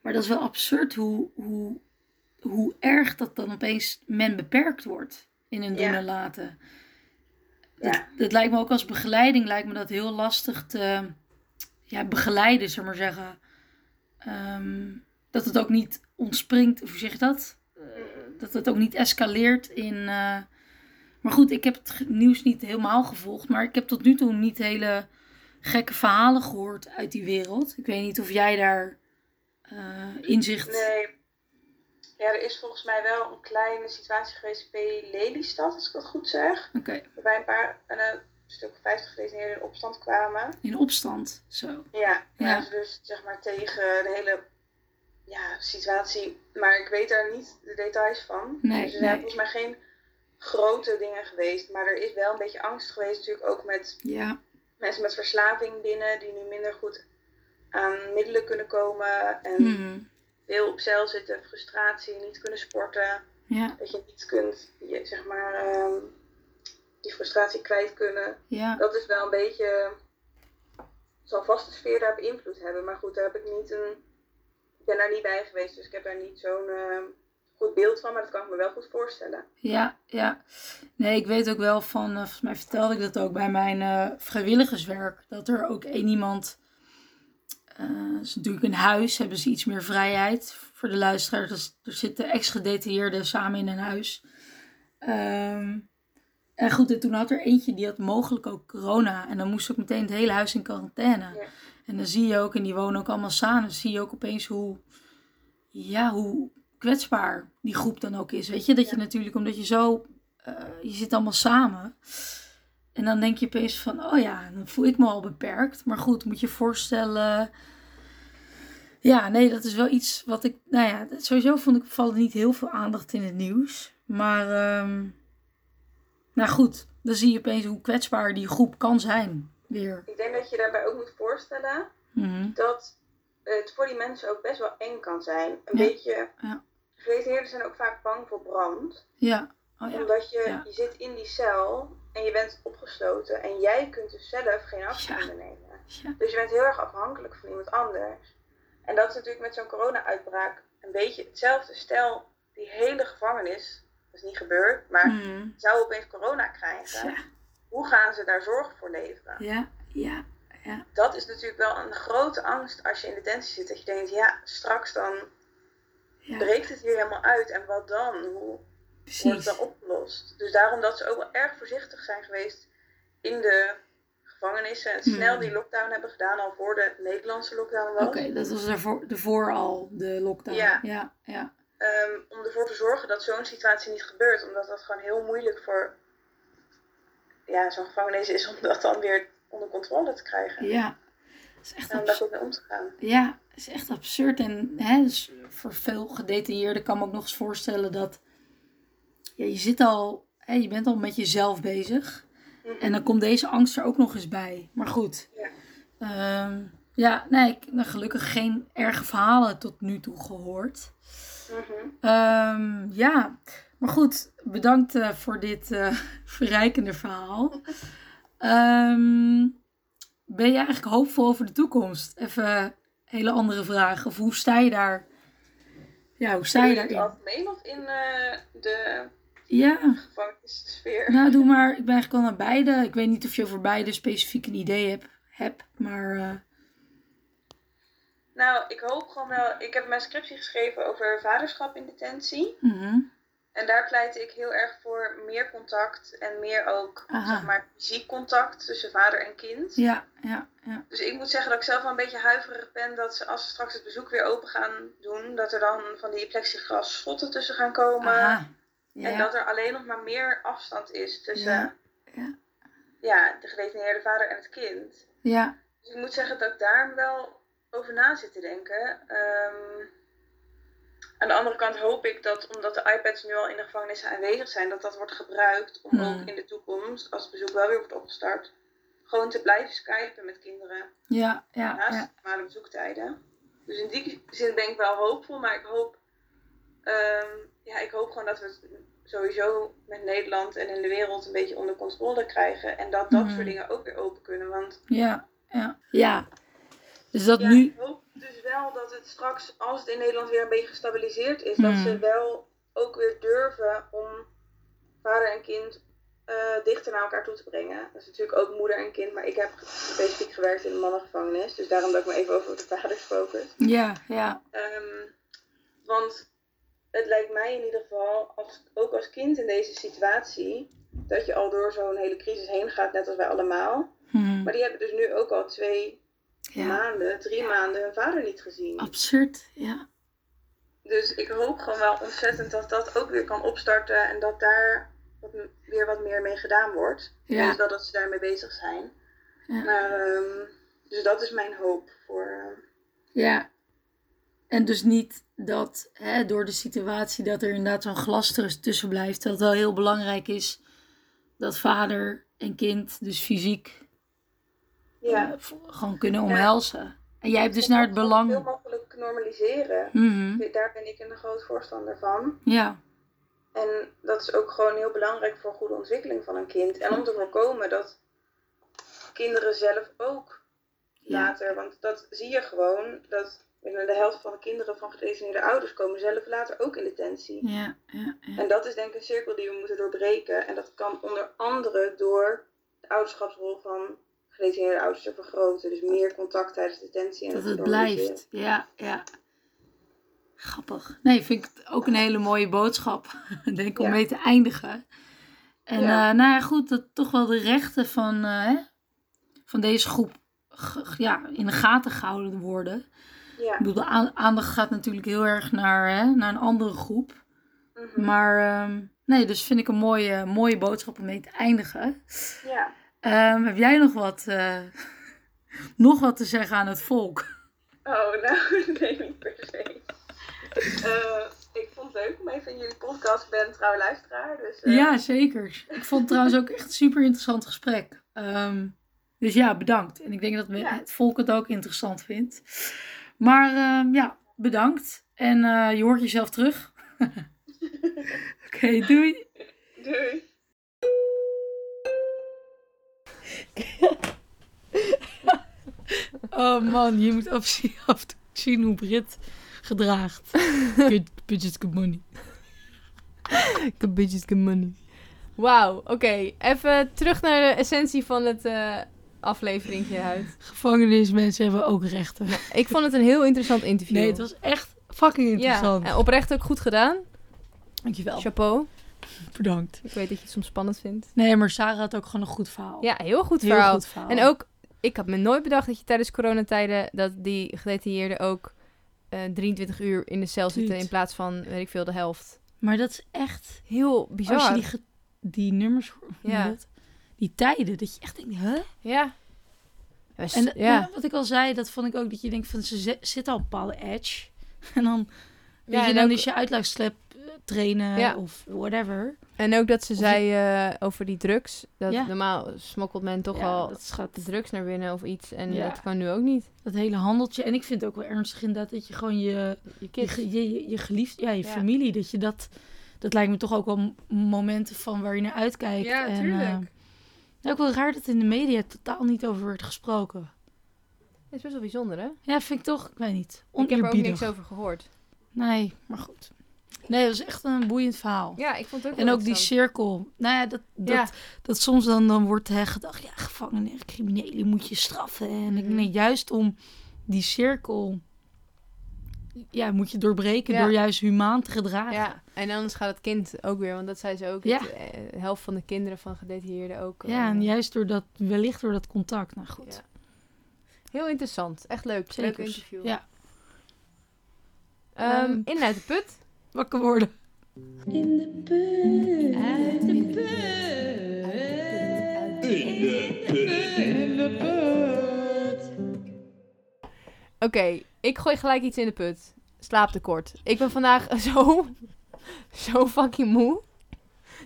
Speaker 1: Maar dat is wel absurd hoe, hoe, hoe erg dat dan opeens men beperkt wordt in hun doen
Speaker 4: Ja.
Speaker 1: en laten.
Speaker 4: Ja.
Speaker 1: Dat, dat lijkt me ook als begeleiding, lijkt me dat heel lastig te ja, begeleiden, zullen we maar zeggen. Ehm, dat het ook niet ontspringt, of hoe zeg je dat? Eh,
Speaker 4: Mm-mm.
Speaker 1: dat het ook niet escaleert in. eh, Maar goed, ik heb het ge- nieuws niet helemaal gevolgd. Maar ik heb tot nu toe niet hele gekke verhalen gehoord uit die wereld. Ik weet niet of jij daar eh, inzicht.
Speaker 4: Nee. Ja, er is volgens mij wel een kleine situatie geweest bij Lelystad, als ik dat goed zeg.
Speaker 1: Oké,
Speaker 4: Waarbij een paar, een, eh, stuk of 50 gedetineerden in opstand kwamen.
Speaker 1: in opstand. Zo.
Speaker 4: Ja,
Speaker 1: Ja.
Speaker 4: ja. dus zeg maar tegen de hele ja, situatie. Maar ik weet daar niet de details van.
Speaker 1: Nee,
Speaker 4: dus er
Speaker 1: nee.
Speaker 4: zijn volgens mij geen grote dingen geweest. Maar er is wel een beetje angst geweest natuurlijk ook met
Speaker 1: Ja,
Speaker 4: mensen met verslaving binnen. Die nu minder goed aan middelen kunnen komen. En
Speaker 1: mhm,
Speaker 4: veel op cel zitten, frustratie, niet kunnen sporten.
Speaker 1: ja,
Speaker 4: Dat je niet kunt, je, zeg maar, ehm, die frustratie kwijt kunnen
Speaker 1: ja.
Speaker 4: dat is wel een beetje. Zal vast de sfeer daar beïnvloed hebben. Maar goed, daar heb ik niet een. Ik ben daar niet bij geweest, dus ik heb daar niet zo'n eh, goed beeld van. Maar dat kan ik me wel goed voorstellen.
Speaker 1: Ja, ja. Nee, ik weet ook wel van, eh, volgens mij vertelde ik dat ook bij mijn eh, vrijwilligerswerk, dat er ook één iemand, eh is natuurlijk een huis, hebben ze iets meer vrijheid voor de luisteraars. Dus er zitten ex-gedetailleerden samen in een huis. Ehm, en goed, en toen had er eentje die had mogelijk ook corona. En dan moest ook meteen het hele huis in quarantaine.
Speaker 4: Ja.
Speaker 1: En dan zie je ook, en die wonen ook allemaal samen, dan zie je ook opeens hoe, ja, hoe kwetsbaar die groep dan ook is. Weet je, dat je
Speaker 4: Ja.
Speaker 1: natuurlijk, omdat je zo, eh, je zit allemaal samen. En dan denk je opeens van, oh ja, dan voel ik me al beperkt. Maar goed, moet je voorstellen. Ja, nee, dat is wel iets wat ik, nou ja, dat- sowieso vond ik valt niet heel veel aandacht in het nieuws. Maar, ehm, nou goed, dan zie je opeens hoe kwetsbaar die groep kan zijn. Weer.
Speaker 4: Ik denk dat je daarbij ook moet voorstellen
Speaker 1: Mhm.
Speaker 4: dat het voor die mensen ook best wel eng kan zijn. Een
Speaker 1: Ja.
Speaker 4: beetje.
Speaker 1: Ja.
Speaker 4: Gedetineerden zijn ook vaak bang voor brand.
Speaker 1: Ja. Oh ja.
Speaker 4: Omdat je,
Speaker 1: Ja.
Speaker 4: je zit in die cel en je bent opgesloten. En jij kunt dus zelf geen actie
Speaker 1: Ja.
Speaker 4: ondernemen.
Speaker 1: Ja.
Speaker 4: Dus je bent heel erg afhankelijk van iemand anders. En dat is natuurlijk met zo'n corona-uitbraak een beetje hetzelfde. Stel, die hele gevangenis, dat is niet gebeurd, maar
Speaker 1: Mhm.
Speaker 4: zou opeens corona krijgen.
Speaker 1: Ja.
Speaker 4: Hoe gaan ze daar zorg voor leveren?
Speaker 1: Ja. Ja.
Speaker 4: Dat is natuurlijk wel een grote angst als je in detentie zit. Dat je denkt, ja, straks dan
Speaker 1: Ja.
Speaker 4: breekt het hier helemaal uit. En wat dan? Hoe wordt het
Speaker 1: Precies.
Speaker 4: dan opgelost? Dus daarom dat ze ook wel erg voorzichtig zijn geweest in de gevangenissen. En snel
Speaker 1: Mm.
Speaker 4: die lockdown hebben gedaan, al voor de Nederlandse lockdown was.
Speaker 1: Oké, dat was daarvoor, daarvoor al de lockdown.
Speaker 4: Ja.
Speaker 1: Ja. Ja.
Speaker 4: Ehm, om ervoor te zorgen dat zo'n situatie niet gebeurt. Omdat dat gewoon heel moeilijk voor ja, zo'n gevangenis is om dat dan weer onder controle te krijgen.
Speaker 1: ja. Dat is echt
Speaker 4: En om daar goed mee om te gaan.
Speaker 1: Ja, het is echt absurd. En hè, dus voor veel gedetailleerden kan ik me ook nog eens voorstellen dat ja, je zit al, hè, je bent al met jezelf bezig.
Speaker 4: Mhm.
Speaker 1: En dan komt deze angst er ook nog eens bij. Maar goed.
Speaker 4: Ja.
Speaker 1: Ehm, ja, nee, ik heb nou, gelukkig geen erge verhalen tot nu toe gehoord.
Speaker 4: Mhm.
Speaker 1: Ehm, ja, maar goed, bedankt eh, voor dit eh, verrijkende verhaal. Ehm, ben je eigenlijk hoopvol over de toekomst? Even een hele andere vraag. Of hoe sta je daar? Ja, hoe sta
Speaker 4: Doe
Speaker 1: je
Speaker 4: je het
Speaker 1: daarin?
Speaker 4: algemeen of in eh, de
Speaker 1: Ja,
Speaker 4: gevangenissfeer?
Speaker 1: nou doe maar. Ik ben eigenlijk al naar beide. Ik weet niet of je voor beide specifiek een idee hebt, hebt maar eh,
Speaker 4: Nou, ik hoop gewoon wel. Ik heb mijn scriptie geschreven over vaderschap in detentie.
Speaker 1: mhm.
Speaker 4: En daar pleit ik heel erg voor meer contact en meer ook
Speaker 1: Aha.
Speaker 4: zeg maar, fysiek contact tussen vader en kind.
Speaker 1: ja, ja, ja.
Speaker 4: Dus ik moet zeggen dat ik zelf wel een beetje huiverig ben dat ze als ze straks het bezoek weer open gaan doen, dat er dan van die plexiglas schotten tussen gaan komen.
Speaker 1: Aha.
Speaker 4: En
Speaker 1: Ja,
Speaker 4: dat er alleen nog maar meer afstand is tussen
Speaker 1: Ja,
Speaker 4: ja.
Speaker 1: ja.
Speaker 4: de gedetineerde vader en het kind.
Speaker 1: ja,
Speaker 4: Dus ik moet zeggen dat ik daar wel over na zit te denken. Ehm, aan de andere kant hoop ik dat omdat de iPads nu al in de gevangenissen aanwezig zijn, dat dat wordt gebruikt om
Speaker 1: Hmm.
Speaker 4: ook in de toekomst, als het bezoek wel weer wordt opgestart, gewoon te blijven skypen met kinderen
Speaker 1: ja, ja,
Speaker 4: naast
Speaker 1: ja.
Speaker 4: normale bezoektijden. Dus in die zin ben ik wel hoopvol, maar ik hoop Ehm, ja, ik hoop gewoon dat we het sowieso met Nederland en in de wereld een beetje onder controle krijgen. En dat dat
Speaker 1: Mhm.
Speaker 4: soort dingen ook weer open kunnen. Want
Speaker 1: Ja, ja. Ja. Dus dat
Speaker 4: ja,
Speaker 1: nu...
Speaker 4: ik hoop dus wel dat het straks, als het in Nederland weer een beetje gestabiliseerd is,
Speaker 1: Hmm.
Speaker 4: dat ze wel ook weer durven om vader en kind eh, dichter naar elkaar toe te brengen. Dat is natuurlijk ook moeder en kind, maar ik heb specifiek gewerkt in een mannengevangenis. Dus daarom dat ik me even over de vaders focus.
Speaker 1: Ja, ja.
Speaker 4: Ehm, want het lijkt mij in ieder geval, als, ook als kind in deze situatie, dat je al door zo'n hele crisis heen gaat, net als wij allemaal.
Speaker 1: Hm.
Speaker 4: Maar die hebben dus nu ook al twee
Speaker 1: Ja.
Speaker 4: maanden, drie maanden hun vader niet gezien.
Speaker 1: Absurd, ja.
Speaker 4: Dus ik hoop gewoon wel ontzettend dat dat ook weer kan opstarten en dat daar wat m- weer wat meer mee gedaan wordt.
Speaker 1: Ja.
Speaker 4: Dus wel dat ze daarmee bezig zijn.
Speaker 1: Ja.
Speaker 4: Maar, ehm, dus dat is mijn hoop voor. ehm,
Speaker 1: Ja. En dus niet dat hè, door de situatie dat er inderdaad zo'n glas tuss- tussen blijft, dat het wel heel belangrijk is dat vader en kind dus fysiek
Speaker 4: ja.
Speaker 1: eh, v- gewoon kunnen omhelzen. En jij hebt dus naar het
Speaker 4: Dat Heel
Speaker 1: belang.
Speaker 4: makkelijk normaliseren.
Speaker 1: Mhm.
Speaker 4: Daar ben ik een groot voorstander van.
Speaker 1: Ja,
Speaker 4: En dat is ook gewoon heel belangrijk voor goede ontwikkeling van een kind. En om te voorkomen dat kinderen zelf ook
Speaker 1: Ja.
Speaker 4: later, want dat zie je gewoon, dat binnen de helft van de kinderen van gedetineerde ouders komen zelf later ook in detentie.
Speaker 1: ja, ja, ja.
Speaker 4: En dat is denk ik een cirkel die we moeten doorbreken. En dat kan onder andere door de ouderschapsrol van gedetineerde ouders te vergroten. Dus meer contact tijdens detentie. En
Speaker 1: Dat
Speaker 4: te
Speaker 1: het
Speaker 4: normaliseren.
Speaker 1: blijft. Ja, ja. Grappig. Nee, vind ik het ook een hele mooie boodschap. Ik Denk om
Speaker 4: Ja.
Speaker 1: mee te eindigen. En
Speaker 4: Ja.
Speaker 1: eh, nou ja, goed, dat toch wel de rechten van, eh, hè, van deze groep ge- ge- ja, in de gaten gehouden worden.
Speaker 4: Ja.
Speaker 1: Ik bedoel, de aan- aandacht gaat natuurlijk heel erg naar, hè, naar een andere groep.
Speaker 4: Mhm.
Speaker 1: Maar ehm, nee, dus vind ik een mooie, mooie boodschap om mee te eindigen.
Speaker 4: ja.
Speaker 1: Ehm, heb jij nog wat, eh, nog wat te zeggen aan het volk?
Speaker 4: Oh, nou, nee, niet per se. Eh, ik vond het leuk om even in jullie podcast. Ik ben een trouw luisteraar, dus... eh,
Speaker 1: Ja, zeker. Ik vond het trouwens ook echt een super interessant gesprek. Ehm, dus ja, bedankt. En ik denk dat we-
Speaker 4: Ja.
Speaker 1: het volk het ook interessant vindt. Maar ehm, ja, bedankt. En eh, je hoort jezelf terug. Oké, doei.
Speaker 4: Doei!
Speaker 1: Oh man, je moet afzien, af zien hoe Brit gedraagt. Good budget, good money.
Speaker 2: Good bitches, good money. Wauw, oké. Even terug naar de essentie van het eh afleveringje uit.
Speaker 1: Gevangenismensen hebben ook rechten.
Speaker 2: Ik vond het een heel interessant interview.
Speaker 1: Nee, het was echt fucking interessant. Oh.
Speaker 2: Ja, en oprecht ook goed gedaan.
Speaker 1: Dankjewel.
Speaker 2: Chapeau.
Speaker 1: Bedankt.
Speaker 2: Ik weet dat je het soms spannend vindt.
Speaker 1: Nee, maar Sarah had ook gewoon een goed verhaal.
Speaker 2: Ja, heel goed
Speaker 1: Oh. Heel
Speaker 2: verhaal.
Speaker 1: goed verhaal.
Speaker 2: En ook, ik had me nooit bedacht dat je tijdens coronatijden... dat die gedetailleerden ook eh, 23 uur in de cel zitten...
Speaker 1: Dude.
Speaker 2: in plaats van, weet ik veel, de helft.
Speaker 1: Maar dat is echt...
Speaker 2: Heel bizar.
Speaker 1: Als je die, ge- die nummers hoort, hoe
Speaker 2: Ja.
Speaker 1: noem je dat? die tijden, dat je echt denkt, huh?
Speaker 2: Ja. We s-
Speaker 1: En dat-
Speaker 2: ja.
Speaker 1: nou, wat ik al zei, dat vond ik ook, dat je denkt van, ze zit zitten al op een bepaalde edge. En dan, weet
Speaker 2: Ja,
Speaker 1: Dus je,
Speaker 2: en,
Speaker 1: dan
Speaker 2: ook,
Speaker 1: is je uitlaatklep eh, trainen
Speaker 2: Ja.
Speaker 1: of whatever.
Speaker 2: en ook dat ze
Speaker 1: Of
Speaker 2: zei eh, over die drugs. Dat
Speaker 1: Ja.
Speaker 2: normaal smokkelt men toch
Speaker 1: Ja,
Speaker 2: al
Speaker 1: Dat schat
Speaker 2: de drugs naar binnen of iets. En
Speaker 1: Ja.
Speaker 2: dat kan nu ook niet.
Speaker 1: Dat hele handeltje. En ik vind het ook wel ernstig inderdaad dat je gewoon je,
Speaker 2: Je
Speaker 1: je,
Speaker 2: kids.
Speaker 1: ge- je, je, je geliefd, ja, je
Speaker 2: Ja.
Speaker 1: familie, dat je dat, dat lijkt me toch ook wel m- momenten van waar je naar uitkijkt.
Speaker 2: Ja,
Speaker 1: en,
Speaker 2: tuurlijk.
Speaker 1: eh, nou, ook wel raar dat in de media totaal niet over wordt gesproken.
Speaker 2: Dat is best wel bijzonder, hè?
Speaker 1: Ja, vind ik toch, ik weet niet,
Speaker 2: Ik heb er ook
Speaker 1: oneerbiedig.
Speaker 2: niks over gehoord.
Speaker 1: Nee, maar goed. Nee, dat is echt een boeiend verhaal.
Speaker 2: Ja, ik vond het ook
Speaker 1: En ook die cirkel. Nou ja, dat, dat,
Speaker 2: Ja.
Speaker 1: dat soms dan, dan wordt hè, gedacht, ja, gevangenen en criminelen moet je straffen. En ik
Speaker 2: Mhm.
Speaker 1: denk juist om die cirkel, ja, moet je doorbreken
Speaker 2: Ja.
Speaker 1: door juist humaan te gedragen.
Speaker 2: Ja, en anders gaat het kind ook weer, want dat zei ze ook.
Speaker 1: Ja.
Speaker 2: dat, eh, De helft van de kinderen van gedetailleerden ook. eh,
Speaker 1: Ja, en juist door dat, wellicht door dat contact. Nou goed.
Speaker 2: Ja. Heel interessant. Echt leuk.
Speaker 1: Zekers.
Speaker 2: Leuk interview.
Speaker 1: Ja.
Speaker 2: Ehm,
Speaker 1: Ehm,
Speaker 2: in en uit de put.
Speaker 1: Wakker worden.
Speaker 2: Oké, ik gooi gelijk iets in de put. Slaaptekort. Ik ben vandaag zo, zo fucking moe.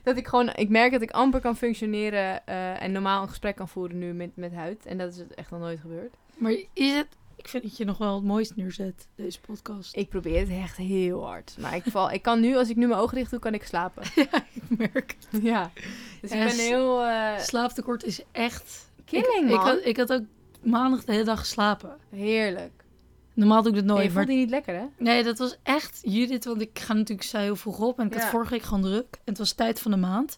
Speaker 2: Dat ik gewoon, ik merk dat ik amper kan functioneren eh, en normaal een gesprek kan voeren nu met, met huid. En dat is echt nog nooit gebeurd.
Speaker 1: Maar is het Ik vind dat je nog wel het mooist neerzet, deze podcast.
Speaker 2: Ik probeer het echt heel hard. Maar ik, val, ik kan nu, als ik nu mijn ogen dicht doe, kan ik slapen.
Speaker 1: Ik merk.
Speaker 2: Ja. Dus ik
Speaker 1: Ja,
Speaker 2: ben
Speaker 1: s-
Speaker 2: heel... eh
Speaker 1: Slaaptekort is echt...
Speaker 2: killing,
Speaker 1: ik,
Speaker 2: man.
Speaker 1: ik, had, ik had ook maandag de hele dag geslapen.
Speaker 2: Heerlijk.
Speaker 1: Normaal doe ik dat
Speaker 2: Nee,
Speaker 1: nooit,
Speaker 2: je
Speaker 1: maar...
Speaker 2: vond die niet lekker, hè?
Speaker 1: Nee, dat was echt Judith, want ik ga natuurlijk zij heel vroeg op. En ik
Speaker 2: Ja.
Speaker 1: had vorige week gewoon druk. En het was tijd van de maand.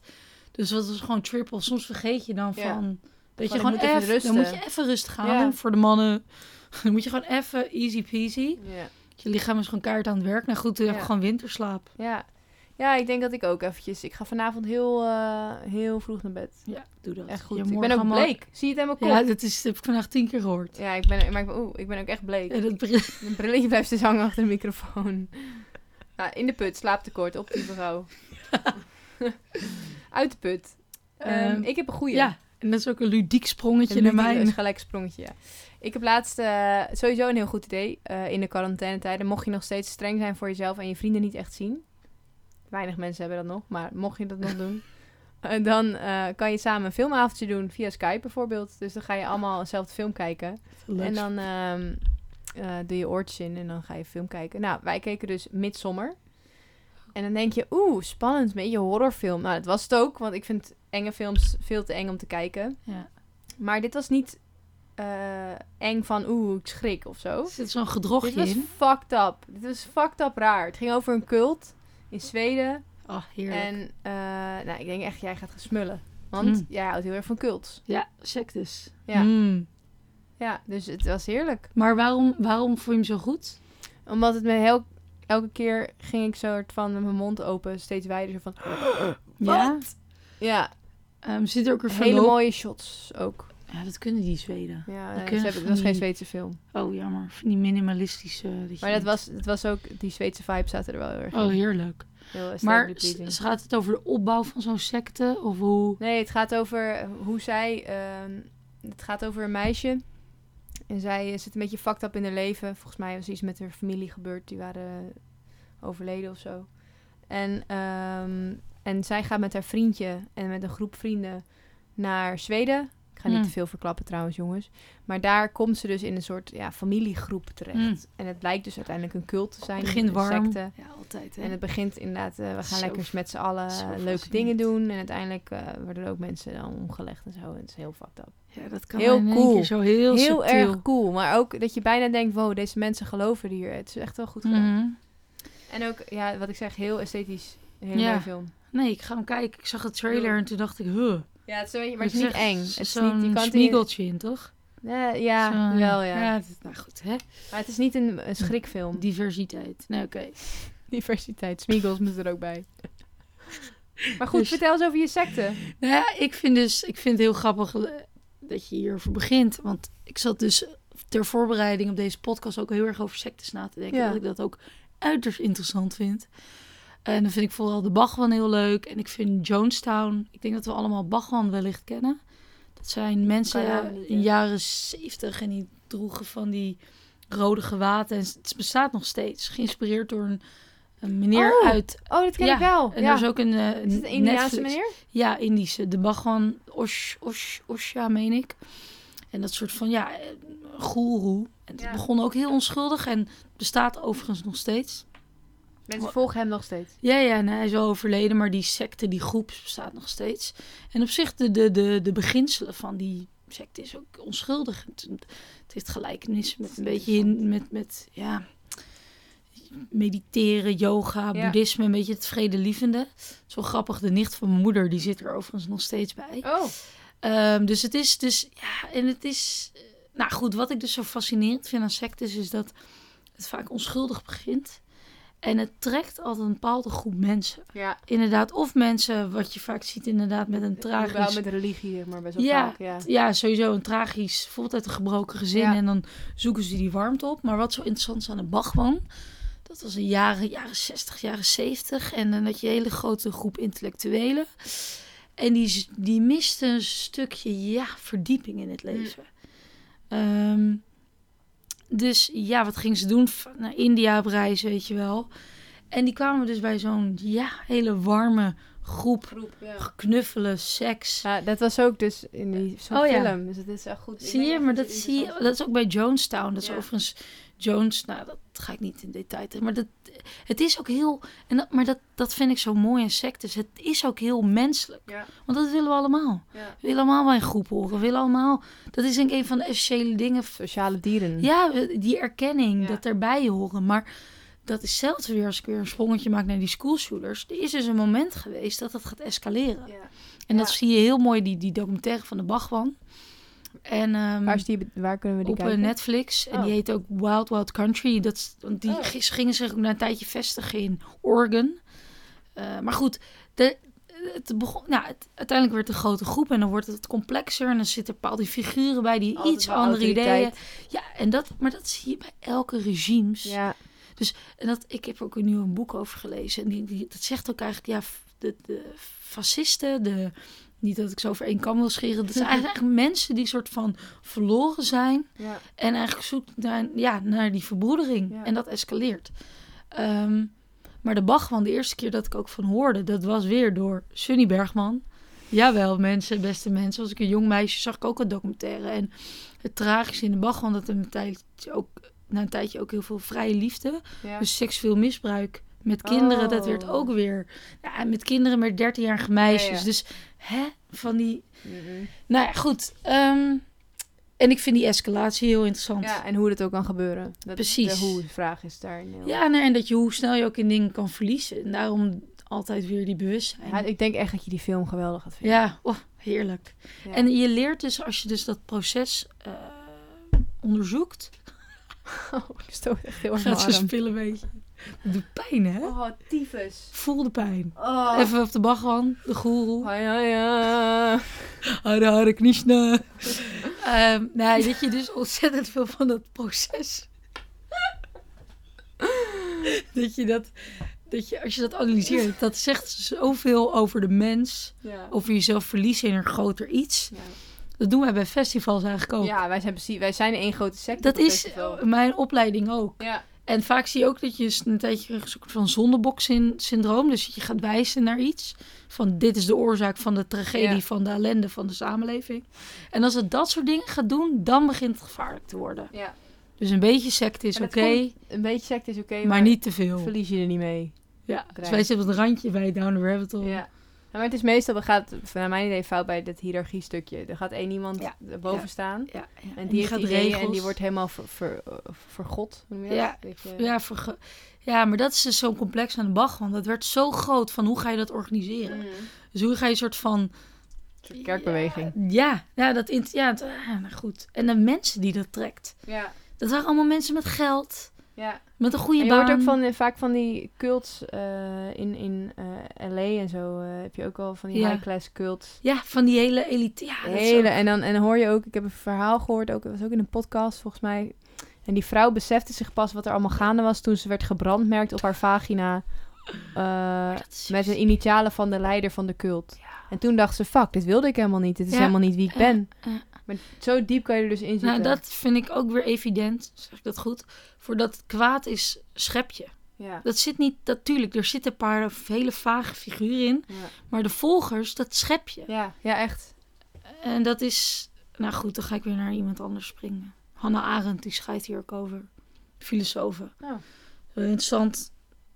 Speaker 1: Dus dat was gewoon triple. Soms vergeet je dan
Speaker 2: Ja.
Speaker 1: van... Dat
Speaker 2: Van,
Speaker 1: je
Speaker 2: ik
Speaker 1: gewoon
Speaker 2: moet even
Speaker 1: even... Dan
Speaker 2: rusten.
Speaker 1: moet je even rustig gaan
Speaker 2: Ja.
Speaker 1: voor de mannen. Dan moet je gewoon even easy peasy.
Speaker 2: Ja.
Speaker 1: Je lichaam is gewoon kaart aan het werk. Nou goed, toen heb
Speaker 2: Ja.
Speaker 1: ik gewoon winterslaap.
Speaker 2: Ja. Ja, ik denk dat ik ook eventjes... Ik ga vanavond heel, eh, heel vroeg naar bed.
Speaker 1: Ja, doe dat.
Speaker 2: Echt
Speaker 1: Je
Speaker 2: goed. Ik ben
Speaker 1: morgen
Speaker 2: ook
Speaker 1: allemaal-
Speaker 2: bleek. Zie je het aan mijn kop?
Speaker 1: Ja,
Speaker 2: Ja,
Speaker 1: dat, is, dat heb ik vandaag tien keer gehoord.
Speaker 2: ik, ben, maar ik, ben, oeh, ik ben ook echt bleek.
Speaker 1: Ja, dat br-
Speaker 2: Mijn brilletje blijft dus hangen achter de microfoon. Ja, in de put, slaaptekort, op die vrouw. Uit de put. Ehm,
Speaker 1: Ehm,
Speaker 2: ik heb een goeie.
Speaker 1: ja, en dat is ook een ludiek sprongetje
Speaker 2: Een
Speaker 1: naar
Speaker 2: ludieke-
Speaker 1: mij.
Speaker 2: Een gelijk sprongetje, ja. Ik heb laatst eh, sowieso een heel goed idee. eh, in de quarantainetijden mocht je nog steeds streng zijn voor jezelf en je vrienden niet echt zien. Weinig mensen hebben dat nog, maar mocht je dat nog doen. eh, dan eh, kan je samen een filmavondje doen via Skype bijvoorbeeld. Dus dan ga je allemaal eenzelfde film kijken. En dan ehm, eh, doe je oortjes in en dan ga je film kijken. Nou, wij keken dus Midsommer. En dan denk je, oeh, spannend, een beetje horrorfilm. Nou, dat was het ook, want ik vind enge films veel te eng om te kijken.
Speaker 1: Ja.
Speaker 2: Maar dit was niet eh, eng van, oeh, ik schrik of zo.
Speaker 1: Er zit zo'n gedrochtje
Speaker 2: Dit was
Speaker 1: in.
Speaker 2: fucked up. Dit was fucked up raar. Het ging over een cult in Zweden.
Speaker 1: Oh, heerlijk.
Speaker 2: En eh, nou, ik denk echt, jij gaat gaan smullen. Want
Speaker 1: Mm.
Speaker 2: jij houdt heel erg van cults.
Speaker 1: Ja, sectes.
Speaker 2: Ja.
Speaker 1: Mm.
Speaker 2: Ja, dus het was heerlijk.
Speaker 1: Maar waarom, waarom vond je hem zo goed?
Speaker 2: Omdat het me heel... Elke keer ging ik soort van met mijn mond open, steeds wijder. Zo van,
Speaker 1: Ja.
Speaker 2: ja,
Speaker 1: Ehm, zit er ook weer
Speaker 2: hele
Speaker 1: verloop-
Speaker 2: mooie shots ook.
Speaker 1: Ja, dat kunnen die Zweden.
Speaker 2: Ja,
Speaker 1: Dan
Speaker 2: eh,
Speaker 1: kun je
Speaker 2: ze hebben,
Speaker 1: van
Speaker 2: dat was geen
Speaker 1: die-
Speaker 2: Zweedse film.
Speaker 1: Oh, jammer. Van die minimalistische... eh, dat je
Speaker 2: Maar dat
Speaker 1: niet-
Speaker 2: was, het was ook... Die Zweedse vibe zaten er wel heel erg in.
Speaker 1: Oh, heerlijk.
Speaker 2: Heel
Speaker 1: Maar
Speaker 2: aesthetically pleasing.
Speaker 1: s- gaat het over de opbouw van zo'n secte? Of hoe...
Speaker 2: Nee, het gaat over eh, hoe zij... ehm, het gaat over een meisje. En zij eh, zit een beetje fucked up in haar leven. Volgens mij was iets met haar familie gebeurd. Die waren eh, overleden of zo. En, ehm, en zij gaat met haar vriendje en met een groep vrienden naar Zweden. Ik ga niet
Speaker 1: Mm.
Speaker 2: te veel verklappen trouwens, jongens. Maar daar komt ze dus in een soort ja, familiegroep terecht.
Speaker 1: Mm.
Speaker 2: En het blijkt dus uiteindelijk een cult te zijn.
Speaker 1: Het begint
Speaker 2: een
Speaker 1: warm.
Speaker 2: secte.
Speaker 1: Ja, altijd. Hè?
Speaker 2: En het begint inderdaad, eh, we gaan
Speaker 1: Zo
Speaker 2: lekker met z'n allen
Speaker 1: zo
Speaker 2: eh, leuke
Speaker 1: fascinerend.
Speaker 2: dingen doen. En uiteindelijk eh, worden er ook mensen dan omgelegd en zo. En het is heel fucked up.
Speaker 1: ja, dat kan
Speaker 2: heel
Speaker 1: in één
Speaker 2: cool.
Speaker 1: keer zo heel,
Speaker 2: Heel,
Speaker 1: subtiel.
Speaker 2: erg cool. Maar ook dat je bijna denkt, wow, deze mensen geloven hier. Het is echt wel goed gedaan.
Speaker 1: Mhm.
Speaker 2: En ook, ja, wat ik zeg, heel esthetisch. Een hele
Speaker 1: Ja.
Speaker 2: mooie film.
Speaker 1: Nee, ik ga hem kijken. Ik zag de trailer
Speaker 2: Heel-
Speaker 1: en toen dacht ik... Huh.
Speaker 2: Ja, het is een beetje, maar
Speaker 1: Dat
Speaker 2: het is niet
Speaker 1: echt
Speaker 2: eng. Het is
Speaker 1: zo'n
Speaker 2: niet, je kan het niet-
Speaker 1: spiegeltje in, toch?
Speaker 2: Nee, ja,
Speaker 1: Zo'n-
Speaker 2: wel ja.
Speaker 1: ja dat- nou goed, hè?
Speaker 2: Maar het is niet een, een schrikfilm.
Speaker 1: Diversiteit. Nee, oké.
Speaker 2: Diversiteit. Smeagles moet er ook bij. Maar goed,
Speaker 1: Dus-
Speaker 2: vertel eens over je secte.
Speaker 1: Nou ja, ik vind, dus, ik vind het heel grappig eh, dat je hierover begint. Want ik zat dus ter voorbereiding op deze podcast ook heel erg over sectes na te denken.
Speaker 2: Ja.
Speaker 1: Dat ik dat ook uiterst interessant vind. En dan vind ik vooral de Bachwan heel leuk. En ik vind Jonestown... Ik denk dat we allemaal Bachwan wellicht kennen. Dat zijn mensen
Speaker 2: haar naam niet, hè?
Speaker 1: in jaren zeventig en die droegen van die rode gewaten. En het bestaat nog steeds. Geïnspireerd door een, een meneer
Speaker 2: Oh,
Speaker 1: uit...
Speaker 2: Oh, dat ken
Speaker 1: Ja,
Speaker 2: ik wel.
Speaker 1: En
Speaker 2: ja.
Speaker 1: er is ook een, eh,
Speaker 2: is het een Indiaanse
Speaker 1: Netflix-
Speaker 2: meneer?
Speaker 1: ja, Indische. De Bhagwan Osh, Osh, Osha, meen ik. En dat soort van, ja, eh, goeroe. En het
Speaker 2: Ja.
Speaker 1: begon ook heel onschuldig en bestaat overigens nog steeds.
Speaker 2: Mensen volgen hem nog steeds.
Speaker 1: Ja, ja, en hij is wel overleden, maar die secte, die groep bestaat nog steeds. En op zich, de, de, de, de beginselen van die secte is ook onschuldig. Het, het heeft gelijkenis met een beetje, in, met, met, ja, mediteren, yoga,
Speaker 2: Ja.
Speaker 1: boeddhisme, een beetje het vredelievende. Zo grappig, de nicht van mijn moeder, die zit er overigens nog steeds bij.
Speaker 2: Oh,
Speaker 1: Ehm, dus het is, dus ja, en het is, eh, nou goed, wat ik dus zo fascinerend vind aan sectes is dat het vaak onschuldig begint. En het trekt altijd een bepaalde groep mensen.
Speaker 2: ja.
Speaker 1: Inderdaad, of mensen, wat je vaak ziet, inderdaad met een
Speaker 2: Wel
Speaker 1: tragisch...
Speaker 2: met religie, zeg maar best wel
Speaker 1: Ja.
Speaker 2: vaak. Ja.
Speaker 1: Ja, sowieso een tragisch, bijvoorbeeld uit een gebroken gezin.
Speaker 2: Ja.
Speaker 1: En dan zoeken ze die warmte op. Maar wat zo interessant is aan de Bachman, dat was in jaren, jaren 60, jaren 70. En dan had je een hele grote groep intellectuelen. En die, z- die miste een stukje ja, verdieping in het leven. Ehm, dus ja, wat gingen ze doen? V- Naar India op reis, weet je wel. En die kwamen dus bij zo'n ja, hele warme groep,
Speaker 5: groep. Ja.
Speaker 1: knuffelen, seks.
Speaker 2: Ja, dat was ook dus in die zo'n
Speaker 1: Oh, ja.
Speaker 2: film. Dus het is echt goed.
Speaker 1: Zie je, maar dat, zie je, dat is ook bij Jonestown. Dat is
Speaker 5: Ja.
Speaker 1: overigens Jones, nou dat ga ik niet in detail tegen, maar dat, het is ook heel, en dat, maar dat, dat vind ik zo mooi in sectes. Het is ook heel menselijk,
Speaker 5: Ja.
Speaker 1: want dat willen we allemaal.
Speaker 5: Ja.
Speaker 1: We willen allemaal bij een groep horen, we willen allemaal, dat is denk ik een van de essentiële dingen.
Speaker 2: Sociale dieren.
Speaker 1: Ja, we- die erkenning,
Speaker 5: Ja.
Speaker 1: dat erbij horen, maar dat is zelfs weer als ik weer een sprongetje maak naar die schoolshooters. Er is dus een moment geweest dat dat gaat escaleren.
Speaker 5: Ja.
Speaker 1: En dat
Speaker 5: Ja.
Speaker 1: zie je heel mooi, die, die documentaire van de Bachman. En, ehm,
Speaker 2: Waar, is die, waar kunnen we die
Speaker 1: op eh,
Speaker 2: kijken?
Speaker 1: Netflix. En
Speaker 2: Oh.
Speaker 1: die heet ook Wild Wild Country. Dat, is- want die
Speaker 5: Oh.
Speaker 1: gis- gingen zich ook na een tijdje vestigen in Oregon. Eh, maar goed, de, het begon, nou, het- uiteindelijk werd het een grote groep. En dan wordt het complexer. En dan zitten bepaalde figuren bij die
Speaker 2: Altijd
Speaker 1: iets
Speaker 2: wel
Speaker 1: andere ideeën.
Speaker 2: autoriteit.
Speaker 1: Ja, en dat, maar dat zie je bij elke regimes.
Speaker 2: Ja,
Speaker 1: En dat, ik heb ook nu een boek over gelezen. En die, die, dat zegt ook eigenlijk, ja, f- de, de fascisten, de, niet dat ik zo over één kam wil scheren. Dat zijn eigenlijk mensen die soort van verloren zijn.
Speaker 2: ja.
Speaker 1: En eigenlijk zoekt naar, ja, naar die verbroedering.
Speaker 2: Ja.
Speaker 1: En dat escaleert. Ehm, maar de Bachman, de eerste keer dat ik ook van hoorde, dat was weer door Sunny Bergman. Jawel, mensen, beste mensen. Als ik een jong meisje zag, ik ook een documentaire. En het tragische in de Bachman, dat er een tijdje ook, na een tijdje ook heel veel vrije liefde.
Speaker 2: Ja.
Speaker 1: Dus seksueel misbruik met kinderen, dat
Speaker 2: Oh.
Speaker 1: werd ook weer. Ja, en met kinderen met 13-jarige meisjes.
Speaker 2: Ja, ja.
Speaker 1: Dus hè, van die.
Speaker 2: Mhm.
Speaker 1: Nou ja, goed. ehm, en ik vind die escalatie heel interessant.
Speaker 2: Ja, en hoe dat ook kan gebeuren. Dat
Speaker 1: Precies.
Speaker 2: De hoe-vraag is daar. Heel...
Speaker 1: Ja, nee, en dat je hoe snel je ook in dingen kan verliezen. En daarom altijd weer die bewustzijn.
Speaker 2: Ja,
Speaker 1: Ja,
Speaker 2: ik denk echt dat je die film geweldig gaat vinden.
Speaker 1: ja oh, heerlijk.
Speaker 2: Ja.
Speaker 1: En je leert dus als je dus dat proces eh, onderzoekt.
Speaker 2: Oh, ik stoot echt heel erg
Speaker 1: Gaat ze
Speaker 2: mijn arm.
Speaker 1: spillen een beetje. Dat doet pijn, hè?
Speaker 5: Oh, tyfus.
Speaker 1: Voel de pijn.
Speaker 5: Oh.
Speaker 1: Even op de bagwan, de goeroe.
Speaker 2: Ah, ja, ja.
Speaker 1: Oh. Hare Hare Krishna. Ehm, nou, dat je dus ontzettend veel van dat proces. dat je dat, dat je, als je dat analyseert, dat zegt zoveel over de mens,
Speaker 2: Ja.
Speaker 1: over jezelf verliezen in een groter iets.
Speaker 2: Ja.
Speaker 1: Dat doen wij bij festivals eigenlijk ook.
Speaker 2: Ja, wij zijn precies, wij zijn één grote secte.
Speaker 1: Dat
Speaker 2: op het
Speaker 1: is eh,
Speaker 2: festival.
Speaker 1: mijn opleiding ook.
Speaker 2: Ja,
Speaker 1: En vaak zie je ook dat je een tijdje een soort van zondebok-syndroom. Dus dat je gaat wijzen naar iets. Van dit is de oorzaak van de tragedie,
Speaker 2: Ja.
Speaker 1: van de ellende van de samenleving. En als het dat soort dingen gaat doen, dan begint het gevaarlijk te worden.
Speaker 2: ja.
Speaker 1: Dus een beetje sect is
Speaker 2: En
Speaker 1: oké,
Speaker 2: het Een beetje secte is oké,
Speaker 1: maar niet te veel.
Speaker 2: verlies je er niet mee.
Speaker 1: Ja. Dus
Speaker 2: dreigt.
Speaker 1: wij zitten op het randje bij Down the Rabbit Hole.
Speaker 2: Ja. Nou, maar het is meestal, dat gaat naar mijn idee fout bij dat hiërarchie stukje. Er gaat één iemand
Speaker 1: Ja.
Speaker 2: boven staan.
Speaker 1: Ja, ja.
Speaker 2: En die, heeft
Speaker 1: gaat
Speaker 2: ideeën
Speaker 1: regels.
Speaker 2: en die wordt helemaal ver, ver, eh, vergod. Hoe noem je dat?
Speaker 1: Ja,
Speaker 2: Weet je-
Speaker 1: ja, verge- ja, maar dat is dus zo'n complex aan de bag. Want dat werd zo groot van hoe ga je dat organiseren.
Speaker 5: Mm.
Speaker 1: Dus hoe ga je een soort van
Speaker 2: Een soort kerkbeweging.
Speaker 1: Ja, ja, dat int- ja, het- ah, nou goed. En de mensen die dat trekt.
Speaker 5: Ja.
Speaker 1: Dat waren allemaal mensen met geld,
Speaker 5: Ja.
Speaker 1: met een
Speaker 2: En
Speaker 1: goede
Speaker 2: je
Speaker 1: baan.
Speaker 2: hoort ook van, eh, vaak van die cults eh, in, in eh, L.A. en zo. eh, heb je ook al van die
Speaker 1: Ja.
Speaker 2: high-class cults.
Speaker 1: Ja, van die hele elite. Ja, Ah, dat is
Speaker 2: Hele,
Speaker 1: ook-
Speaker 2: en, dan, en dan hoor je ook, ik heb een verhaal gehoord, ook, het was ook in een podcast volgens mij. En die vrouw besefte zich pas wat er allemaal gaande was toen ze werd gebrandmerkt op haar vagina. eh,
Speaker 1: Oh, dat is-
Speaker 2: met de initialen van de leider van de cult. En toen dacht ze, fuck, dit wilde ik helemaal niet. Dit is
Speaker 1: Ja.
Speaker 2: helemaal niet wie
Speaker 1: Ja,
Speaker 2: ik ben.
Speaker 1: ja.
Speaker 2: Maar zo diep kan je er dus in zitten.
Speaker 1: Nou, dat vind ik ook weer evident, zeg ik dat goed. Voordat het kwaad is, schep je.
Speaker 2: Ja.
Speaker 1: Dat zit niet, natuurlijk, er zitten een paar hele vage figuren in.
Speaker 2: Ja.
Speaker 1: Maar de volgers, dat schep je.
Speaker 2: Ja, ja, echt.
Speaker 1: En dat is, nou goed, dan ga ik weer naar iemand anders springen. Hannah Arendt, die schrijft hier ook over. Filosofen.
Speaker 2: Oh.
Speaker 1: Heel Interessant,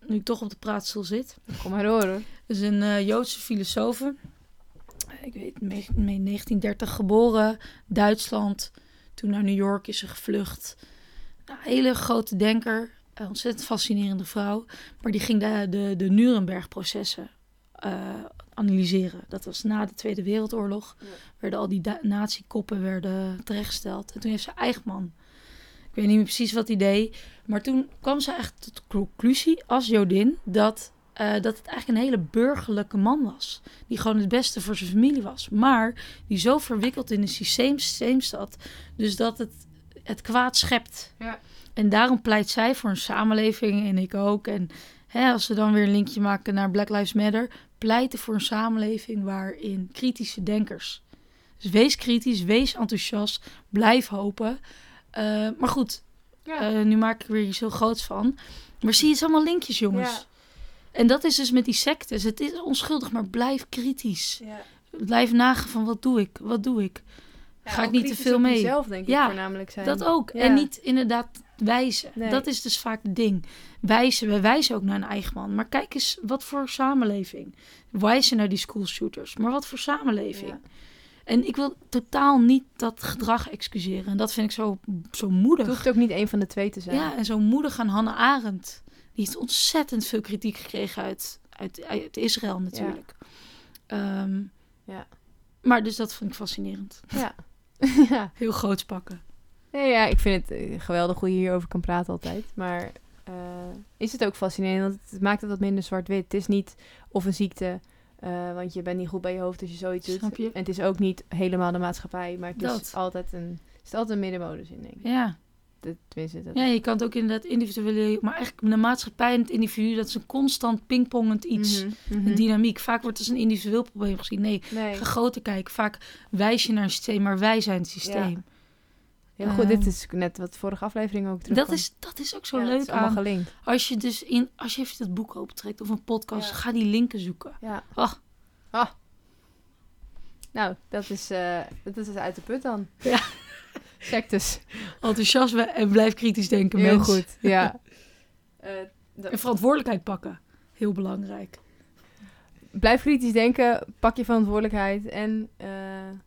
Speaker 1: nu ik toch op de praatstoel zit.
Speaker 2: Kom maar door hoor.
Speaker 1: Dat is een eh, Joodse filosoof. Ik weet, me- me- 1930 geboren, Duitsland. Toen naar New York is ze gevlucht. Nou, hele grote denker, een ontzettend fascinerende vrouw. Maar die ging de, de, de Nuremberg-processen eh, analyseren. Dat was na de Tweede Wereldoorlog. Werden al die da- nazi-koppen werden terechtgesteld. En toen heeft ze eigen man. Ik weet niet meer precies wat hij deed. Maar toen kwam ze eigenlijk tot de conclusie als Jodin dat, eh, dat het eigenlijk een hele burgerlijke man was. Die gewoon het beste voor zijn familie was. Maar die zo verwikkeld in een systeem, systeem zat. Dus dat het, het kwaad schept.
Speaker 5: Ja.
Speaker 1: En daarom pleit zij voor een samenleving en ik ook. En hè, als we dan weer een linkje maken naar Black Lives Matter, pleiten voor een samenleving waarin kritische denkers. Dus wees kritisch, wees enthousiast, blijf hopen. Eh, maar goed,
Speaker 5: Ja.
Speaker 1: eh, nu maak ik er weer iets heel groots van. Maar zie je, het is allemaal linkjes, jongens. En dat is dus met die sectes. Het is onschuldig, maar blijf kritisch.
Speaker 4: Ja.
Speaker 1: Blijf nagaan van wat doe ik? Wat doe ik? Ga ik niet te veel mee?
Speaker 2: Zelf denk ik
Speaker 1: Ja,
Speaker 2: voornamelijk zijn.
Speaker 1: Dat ook.
Speaker 2: Ja.
Speaker 1: En niet inderdaad wijzen.
Speaker 2: Nee.
Speaker 1: Dat is dus vaak het ding. Wijzen. Wij wijzen ook naar een eigen man. Maar kijk eens, wat voor samenleving. Wijzen naar die schoolshooters. Maar wat voor samenleving.
Speaker 2: Ja.
Speaker 1: En ik wil totaal niet dat gedrag excuseren. En dat vind ik zo, zo moedig.
Speaker 2: Het hoeft ook niet één van de twee te zijn.
Speaker 1: Ja, en zo moedig aan Hannah Arendt. Die heeft ontzettend veel kritiek gekregen uit, uit, uit Israël natuurlijk. Ehm,
Speaker 2: Ja.
Speaker 1: Maar dus dat vond ik fascinerend.
Speaker 2: Ja. ja.
Speaker 1: Heel groots pakken.
Speaker 2: Nee, ja, ik vind het eh, geweldig hoe je hierover kan praten altijd. Maar eh, is het ook fascinerend, want het maakt het wat minder zwart-wit. Het is niet of een ziekte, eh, want je bent niet goed bij je hoofd als je zoiets doet.
Speaker 1: Snap je?
Speaker 2: En het is ook niet helemaal de maatschappij, maar het
Speaker 1: Dat.
Speaker 2: is altijd een, er zit altijd een middenmodus in, denk ik.
Speaker 1: Ja.
Speaker 2: Dat- Tenminste, dat...
Speaker 1: ja, je kan het ook inderdaad individueel... Maar eigenlijk de maatschappij en het individu... dat is een constant pingpongend iets.
Speaker 2: Mhm, mhm.
Speaker 1: Een dynamiek. Vaak wordt het als een individueel probleem gezien. Nee,
Speaker 2: Nee,
Speaker 1: ga groter kijken. Vaak wijs je naar een systeem, maar wij zijn het systeem.
Speaker 2: heel goed. Dit
Speaker 1: Ehm,
Speaker 2: is net wat vorige aflevering ook terugkwam.
Speaker 1: dat, is, dat is ook zo
Speaker 2: Ja, het
Speaker 1: leuk
Speaker 2: is allemaal
Speaker 1: aan...
Speaker 2: gelinkt.
Speaker 1: Als je dus in... Als je even dat boek opentrekt of een podcast...
Speaker 2: Ja.
Speaker 1: ga die linken zoeken.
Speaker 2: Ja.
Speaker 1: Ach.
Speaker 2: Ah. Nou, dat is, eh, dat is uit de put dan. dus.
Speaker 1: Ja.
Speaker 2: Sectes.
Speaker 1: enthousiasme en blijf kritisch denken.
Speaker 2: Heel
Speaker 1: mens.
Speaker 2: goed. Ja. Eh,
Speaker 1: En verantwoordelijkheid pakken. Heel belangrijk.
Speaker 2: blijf kritisch denken, pak je verantwoordelijkheid en eh,
Speaker 1: Eh,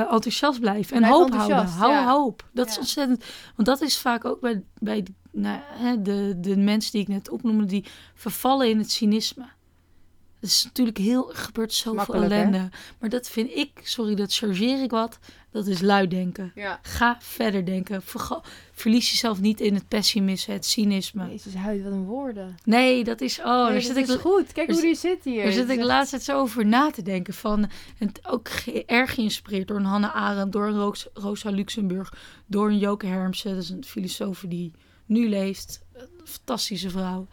Speaker 1: enthousiast blijven en
Speaker 2: Blijf
Speaker 1: hoop houden.
Speaker 2: enthousiast,
Speaker 1: Hou
Speaker 2: ja.
Speaker 1: hoop. Dat is
Speaker 2: Ja.
Speaker 1: ontzettend. Want dat is vaak ook bij, bij de- nou, hè, de, de mensen die ik net opnoemde, die vervallen in het cynisme. Het is natuurlijk heel, er gebeurt zoveel
Speaker 2: Makkelijk, hè?
Speaker 1: ellende. Maar dat vind ik, sorry, dat chargeer ik wat. Dat is lui denken.
Speaker 2: ja.
Speaker 1: Ga verder denken. Verga- verlies jezelf niet in het pessimisme, het cynisme.
Speaker 2: Jezus, huid, wat een woorden.
Speaker 1: Nee, dat is. Oh, daar zit ik
Speaker 2: is goed. Kijk
Speaker 1: daar
Speaker 2: hoe die zit hier.
Speaker 1: Daar zit ik
Speaker 2: Echt-
Speaker 1: de laatste tijd zo over na te denken. Van, en t- ook ge- erg geïnspireerd door een Hannah Arendt, door een Roos- Rosa Luxemburg, door een Joke Hermsen. Dat is een filosoof die nu leeft. Een fantastische vrouw.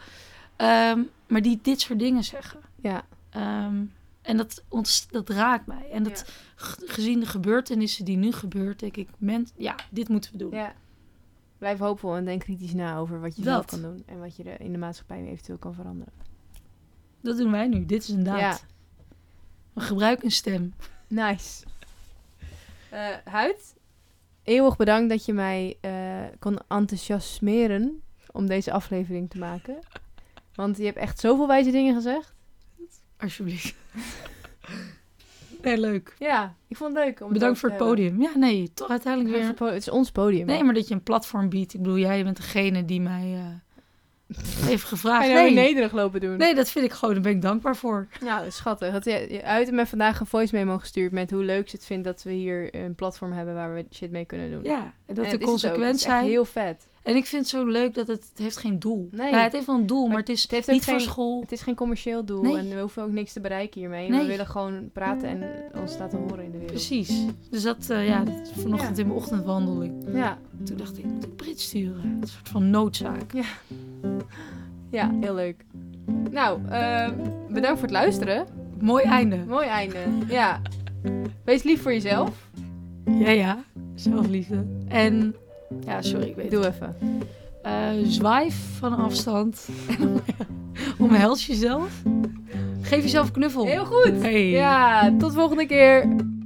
Speaker 1: Ehm, maar die dit soort dingen zeggen.
Speaker 2: Ja,
Speaker 1: Ehm, en dat, ons, dat raakt mij. En dat g- gezien de gebeurtenissen die nu gebeurt, denk ik, mens, ja, dit moeten we doen.
Speaker 2: ja. Blijf hoopvol en denk kritisch na over wat je
Speaker 1: Dat.
Speaker 2: zelf kan doen en wat je er in de maatschappij eventueel kan veranderen.
Speaker 1: Dat doen wij nu. Dit is een daad.
Speaker 2: Ja.
Speaker 1: We gebruiken een stem.
Speaker 2: Nice. Eh Huid, eeuwig bedankt dat je mij eh, kon enthousiasmeren om deze aflevering te maken. Want je hebt echt zoveel wijze dingen gezegd.
Speaker 1: Alsjeblieft. nee, leuk.
Speaker 2: Ja, ik vond het leuk. Om
Speaker 1: Bedankt
Speaker 2: over
Speaker 1: voor
Speaker 2: te
Speaker 1: het
Speaker 2: hebben.
Speaker 1: podium. Ja, nee, toch uiteindelijk
Speaker 2: Bedankt voor
Speaker 1: weer.
Speaker 2: het po- Het is ons podium.
Speaker 1: Nee, maar dat je een platform biedt. Ik bedoel, jij bent degene die mij eh, heeft
Speaker 2: Ga
Speaker 1: gevraagd.
Speaker 2: je nou weer
Speaker 1: Nee.
Speaker 2: nederig lopen doen?
Speaker 1: nee, dat vind ik gewoon, daar ben ik dankbaar voor.
Speaker 2: Nou, schattig. Dat je, je uit me vandaag een voice memo gestuurd met hoe leuk ze het vindt dat we hier een platform hebben waar we shit mee kunnen doen.
Speaker 1: Ja, en dat
Speaker 2: En
Speaker 1: de
Speaker 2: is het ook. Het is
Speaker 1: consequent
Speaker 2: echt
Speaker 1: zijn.
Speaker 2: heel vet.
Speaker 1: En ik vind het zo leuk dat het, het heeft geen doel.
Speaker 2: Nee.
Speaker 1: Ja, het heeft wel een doel, maar,
Speaker 2: Maar
Speaker 1: het is
Speaker 2: het heeft ook
Speaker 1: niet voor
Speaker 2: geen-
Speaker 1: school.
Speaker 2: Het is geen commercieel doel
Speaker 1: Nee.
Speaker 2: en we hoeven ook niks te bereiken hiermee.
Speaker 1: Nee.
Speaker 2: We willen gewoon praten en ons laten horen in de wereld.
Speaker 1: Precies. Dus dat, eh, ja, dat is vanochtend in mijn ochtendwandeling.
Speaker 2: Ja,
Speaker 1: Toen dacht ik, moet ik Brit sturen? Een soort van noodzaak.
Speaker 2: ja, heel leuk. Nou, eh, bedankt voor het luisteren.
Speaker 1: Mooi einde.
Speaker 2: Mooi einde. Ja. Wees lief voor jezelf.
Speaker 1: Ja, ja. Zelfliefde. En, ja, sorry, ik weet het
Speaker 2: Doe even.
Speaker 1: Eh, zwaai van afstand. Omhels jezelf. Geef jezelf een knuffel.
Speaker 2: Heel goed.
Speaker 1: Hey.
Speaker 2: Ja, tot volgende keer.